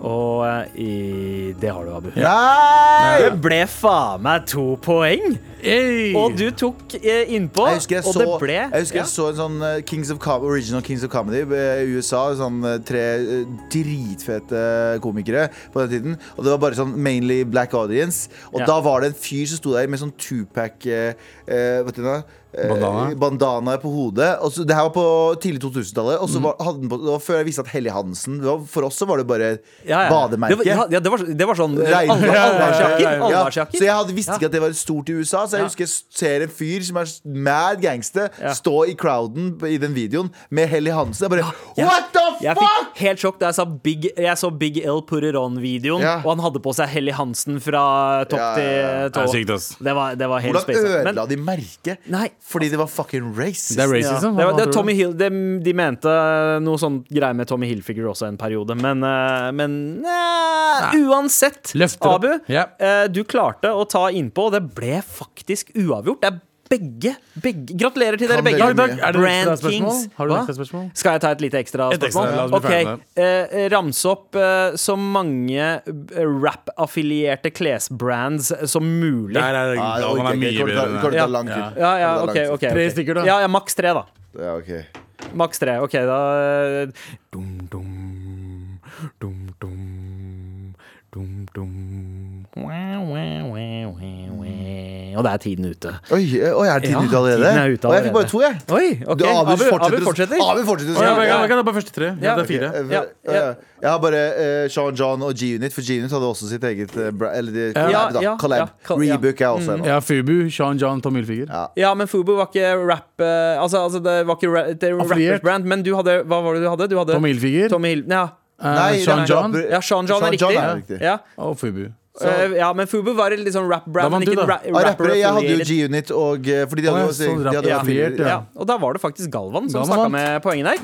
[SPEAKER 3] Og eh, i, det har du, Abu.
[SPEAKER 2] Nei!
[SPEAKER 3] Det ble faen meg to poeng!
[SPEAKER 4] Hey!
[SPEAKER 3] Og du tok eh, innpå,
[SPEAKER 2] Jeg husker jeg,
[SPEAKER 3] og
[SPEAKER 2] så,
[SPEAKER 3] det ble
[SPEAKER 2] jeg, husker
[SPEAKER 3] ja.
[SPEAKER 2] jeg så en sånn eh, Kings of Com Original Kings of Comedy eh, i USA. Sånn eh, tre eh, dritfete eh, komikere på den tiden. Og det var bare sånn mainly black audience. Og
[SPEAKER 3] Ja.
[SPEAKER 2] da var det en fyr som sto der med sånn tupac eh, eh, vet du hva? eh,
[SPEAKER 4] Bandana.
[SPEAKER 2] bandana på hodet. Og så, det her var på tidlig 2000-tallet.
[SPEAKER 3] Mm.
[SPEAKER 2] Og så var, hadde den på- det var før jeg visste at Helly Hansen det var, For oss så var det bare
[SPEAKER 3] Ja, ja.
[SPEAKER 2] bademerke.
[SPEAKER 3] Det var, ja, ja, det var, det var sånn
[SPEAKER 2] Regn-
[SPEAKER 3] alle-
[SPEAKER 2] Ja,
[SPEAKER 3] allværsjakker.
[SPEAKER 2] ja.
[SPEAKER 3] allværsjakker.
[SPEAKER 2] Så jeg hadde, visste ikke at det var stort i USA, så jeg husker jeg ser en fyr som er mad gangster,
[SPEAKER 3] Ja.
[SPEAKER 2] stå i crowden på- i den videoen med Helly Hansen. Jeg bare
[SPEAKER 3] Ja.
[SPEAKER 2] What the
[SPEAKER 3] Jeg
[SPEAKER 2] fuck?!
[SPEAKER 3] fikk helt sjokk da jeg, sa Big, jeg så Big L Put It On-videoen,
[SPEAKER 2] Ja.
[SPEAKER 3] og han hadde på seg Helly Hansen fra topp
[SPEAKER 2] Ja, ja,
[SPEAKER 3] til
[SPEAKER 2] ja.
[SPEAKER 3] tå.
[SPEAKER 4] Det er sykt, ass.
[SPEAKER 3] Det var, det var helt
[SPEAKER 2] Hvordan
[SPEAKER 3] space. Men-
[SPEAKER 2] ødela de merket?
[SPEAKER 3] Nei.
[SPEAKER 2] Fordi det var fucking racist.
[SPEAKER 4] Det er
[SPEAKER 3] Ja.
[SPEAKER 4] racism.
[SPEAKER 3] Det var,
[SPEAKER 4] hva
[SPEAKER 3] det,
[SPEAKER 4] tror
[SPEAKER 3] er
[SPEAKER 4] du?
[SPEAKER 3] Tommy Hill, de, de mente noe sånn greier med Tommy Hilfiger også en periode, men, eh, men eh, uansett,
[SPEAKER 4] Løfter opp.
[SPEAKER 3] Abu,
[SPEAKER 4] Ja.
[SPEAKER 3] eh, du klarte å ta innpå, og det ble faktisk uavgjort. Det er begge, begge Gratulerer til dere
[SPEAKER 2] Kan
[SPEAKER 3] begge.
[SPEAKER 2] dere
[SPEAKER 4] Takk, takk. Er det noe
[SPEAKER 3] Brand
[SPEAKER 4] ekstra spørsmål?
[SPEAKER 3] Kings.
[SPEAKER 4] Har du
[SPEAKER 3] Hva?
[SPEAKER 4] noe ekstra spørsmål?
[SPEAKER 3] Skal jeg ta et lite ekstra
[SPEAKER 4] Et ekstra,
[SPEAKER 3] spørsmål?
[SPEAKER 4] la oss bli
[SPEAKER 3] Ok,
[SPEAKER 4] ferdig med
[SPEAKER 3] eh, Rams opp eh, så mange eh, rap-affilierte klesbrands som mulig.
[SPEAKER 4] Nei, nei, nei,
[SPEAKER 2] Ah, det
[SPEAKER 4] han
[SPEAKER 2] orker
[SPEAKER 4] er
[SPEAKER 2] jeg ikke.
[SPEAKER 4] mye
[SPEAKER 2] Det kommer
[SPEAKER 4] bedre
[SPEAKER 2] til å ta-
[SPEAKER 4] enn
[SPEAKER 2] kommer
[SPEAKER 4] det.
[SPEAKER 2] til å ta lang tid.
[SPEAKER 3] Ja, ja,
[SPEAKER 2] Det kommer til å ta lang
[SPEAKER 3] ok,
[SPEAKER 2] tid.
[SPEAKER 3] ok,
[SPEAKER 4] Tre
[SPEAKER 3] ok.
[SPEAKER 4] stykker, da.
[SPEAKER 3] Ja, ja, maks tre, da.
[SPEAKER 2] Ja, ok.
[SPEAKER 3] Maks tre. Ok, da eh, dum, dum, dum, dum, dum, dum. Wah, wah, wah, wah, wah. Og der er tiden ute.
[SPEAKER 2] Oi, eh, oi, er tiden
[SPEAKER 3] Ja,
[SPEAKER 2] ute allerede?
[SPEAKER 3] tiden er ute
[SPEAKER 2] Å, jeg fikk bare
[SPEAKER 3] allerede.
[SPEAKER 2] to, jeg.
[SPEAKER 3] Oi, ok.
[SPEAKER 2] Du, Abu,
[SPEAKER 3] Abu-
[SPEAKER 2] fortsetter
[SPEAKER 3] Abu
[SPEAKER 2] å-
[SPEAKER 3] fortsetter.
[SPEAKER 2] Abu fortsetter å
[SPEAKER 4] Å, ja,
[SPEAKER 2] snakke.
[SPEAKER 4] men jeg- jeg kan ta bare første tre. Ja, det er fire.
[SPEAKER 2] Eh,
[SPEAKER 3] Ja,
[SPEAKER 2] eh,
[SPEAKER 3] ja.
[SPEAKER 2] Jeg har bare eh, Sean John og G-Unit, for G-Unit hadde også sitt eget eh, bra- Eller de,
[SPEAKER 3] Ja,
[SPEAKER 2] collab,
[SPEAKER 3] ja,
[SPEAKER 2] da.
[SPEAKER 3] ja,
[SPEAKER 2] Collab.
[SPEAKER 3] kal- ja. Mm.
[SPEAKER 2] Rebook er også en.
[SPEAKER 4] Ja, Fubu, Sean John, Tom Hilfiger.
[SPEAKER 2] Ja.
[SPEAKER 3] Ja, men Fubu var ikke rap eh, Altså, altså det var ikke ra det er
[SPEAKER 4] Affiliert.
[SPEAKER 3] rappers brand, men du hadde Hva var det du hadde? Du hadde
[SPEAKER 4] Tom Hilfiger.
[SPEAKER 3] Tommy Hil ja.
[SPEAKER 4] eh,
[SPEAKER 2] Nei,
[SPEAKER 4] Sean
[SPEAKER 2] nei,
[SPEAKER 4] John
[SPEAKER 2] nei.
[SPEAKER 3] ja, Sean John er
[SPEAKER 2] Sean John
[SPEAKER 3] riktig.
[SPEAKER 2] er riktig.
[SPEAKER 3] Ja.
[SPEAKER 4] og Fubu.
[SPEAKER 3] Eh, ja, men Fubu var litt sånn rap
[SPEAKER 4] Da
[SPEAKER 3] brand,
[SPEAKER 4] vant
[SPEAKER 3] men ikke
[SPEAKER 4] du, da.
[SPEAKER 3] ra
[SPEAKER 2] Ja, rappere, jeg hadde jo
[SPEAKER 3] rapper-affiliert.
[SPEAKER 2] G-Unit og eh, Fordi de hadde jo
[SPEAKER 4] Å, ja, sånn
[SPEAKER 2] de hadde jo
[SPEAKER 4] rap- affiliert,
[SPEAKER 2] affiliert,
[SPEAKER 4] ja.
[SPEAKER 2] ja.
[SPEAKER 3] Ja, og da var det faktisk Galvan som
[SPEAKER 4] Galvan
[SPEAKER 3] snakka
[SPEAKER 4] vant.
[SPEAKER 3] med poengene her.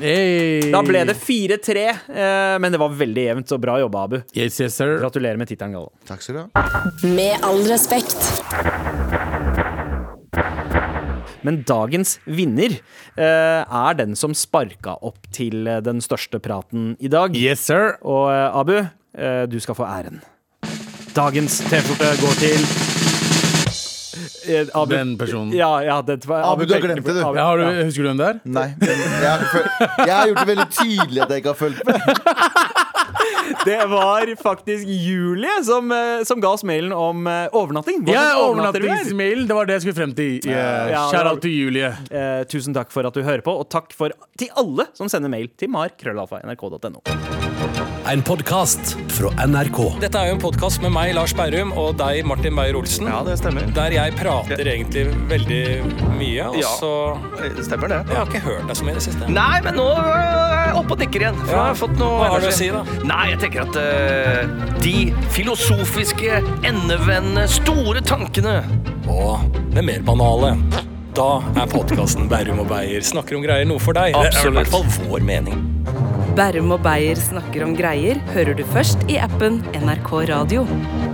[SPEAKER 4] Hey.
[SPEAKER 3] Da ble det 4-3, eh, men det var veldig jevnt, så bra jobba, Abu.
[SPEAKER 4] Yes, yes, sir.
[SPEAKER 3] Gratulerer med tittelen, Galvan.
[SPEAKER 2] Takk skal du ha.
[SPEAKER 5] Med all respekt.
[SPEAKER 3] Men dagens vinner eh, er den som sparka opp til eh, den største praten i dag.
[SPEAKER 4] Yes, sir.
[SPEAKER 3] Og eh, Abu, eh, du skal få æren. Dagens T-skjorte går til eh, Abu.
[SPEAKER 4] Den personen.
[SPEAKER 3] Ja, ja, det var,
[SPEAKER 2] Abu, du har
[SPEAKER 3] pekte
[SPEAKER 2] glemt
[SPEAKER 3] på-
[SPEAKER 2] det, du.
[SPEAKER 4] Ja, har du, husker du hvem det er?
[SPEAKER 2] Nei, men jeg har, føl- jeg har gjort det veldig tydelig at jeg ikke har fulgt med.
[SPEAKER 3] Det var faktisk Julie som, eh, som ga oss mailen om eh, overnatting. Hvordan
[SPEAKER 4] Ja,
[SPEAKER 3] overnatter du her?
[SPEAKER 4] overnattingsmailen. Det var det jeg skulle frem til. Yeah.
[SPEAKER 3] Ja,
[SPEAKER 4] Shout
[SPEAKER 3] det
[SPEAKER 4] out
[SPEAKER 3] var-
[SPEAKER 4] til Julie.
[SPEAKER 3] Eh, tusen takk for at du hører på, og takk for, til alle som sender mail til mar.krøllalfa.nrk.no.
[SPEAKER 8] En podkast fra NRK.
[SPEAKER 9] Dette er jo en podkast med meg, Lars Berrum, og deg, Martin Beyer-Olsen.
[SPEAKER 6] Ja, det stemmer.
[SPEAKER 9] Der jeg prater egentlig veldig mye, og
[SPEAKER 6] Ja.
[SPEAKER 9] så
[SPEAKER 6] Eh, Det stemmer det.
[SPEAKER 9] Jeg har ikke hørt deg så mye i det siste.
[SPEAKER 6] Nei, men nå øh, er jeg oppe og nikker igjen. for
[SPEAKER 9] Ja.
[SPEAKER 6] jeg har fått noe
[SPEAKER 9] Hva har du å
[SPEAKER 6] energi.
[SPEAKER 9] si, da?
[SPEAKER 6] Nei, jeg tenker at øh, de filosofiske, endevendende, store tankene
[SPEAKER 9] Og det mer banale. Da er podkasten Berrum og Beyer snakker om greier noe for deg.
[SPEAKER 6] Absolutt.
[SPEAKER 9] Det er i hvert fall vår mening.
[SPEAKER 10] Berrum og Beyer snakker om greier hører du først i appen NRK Radio.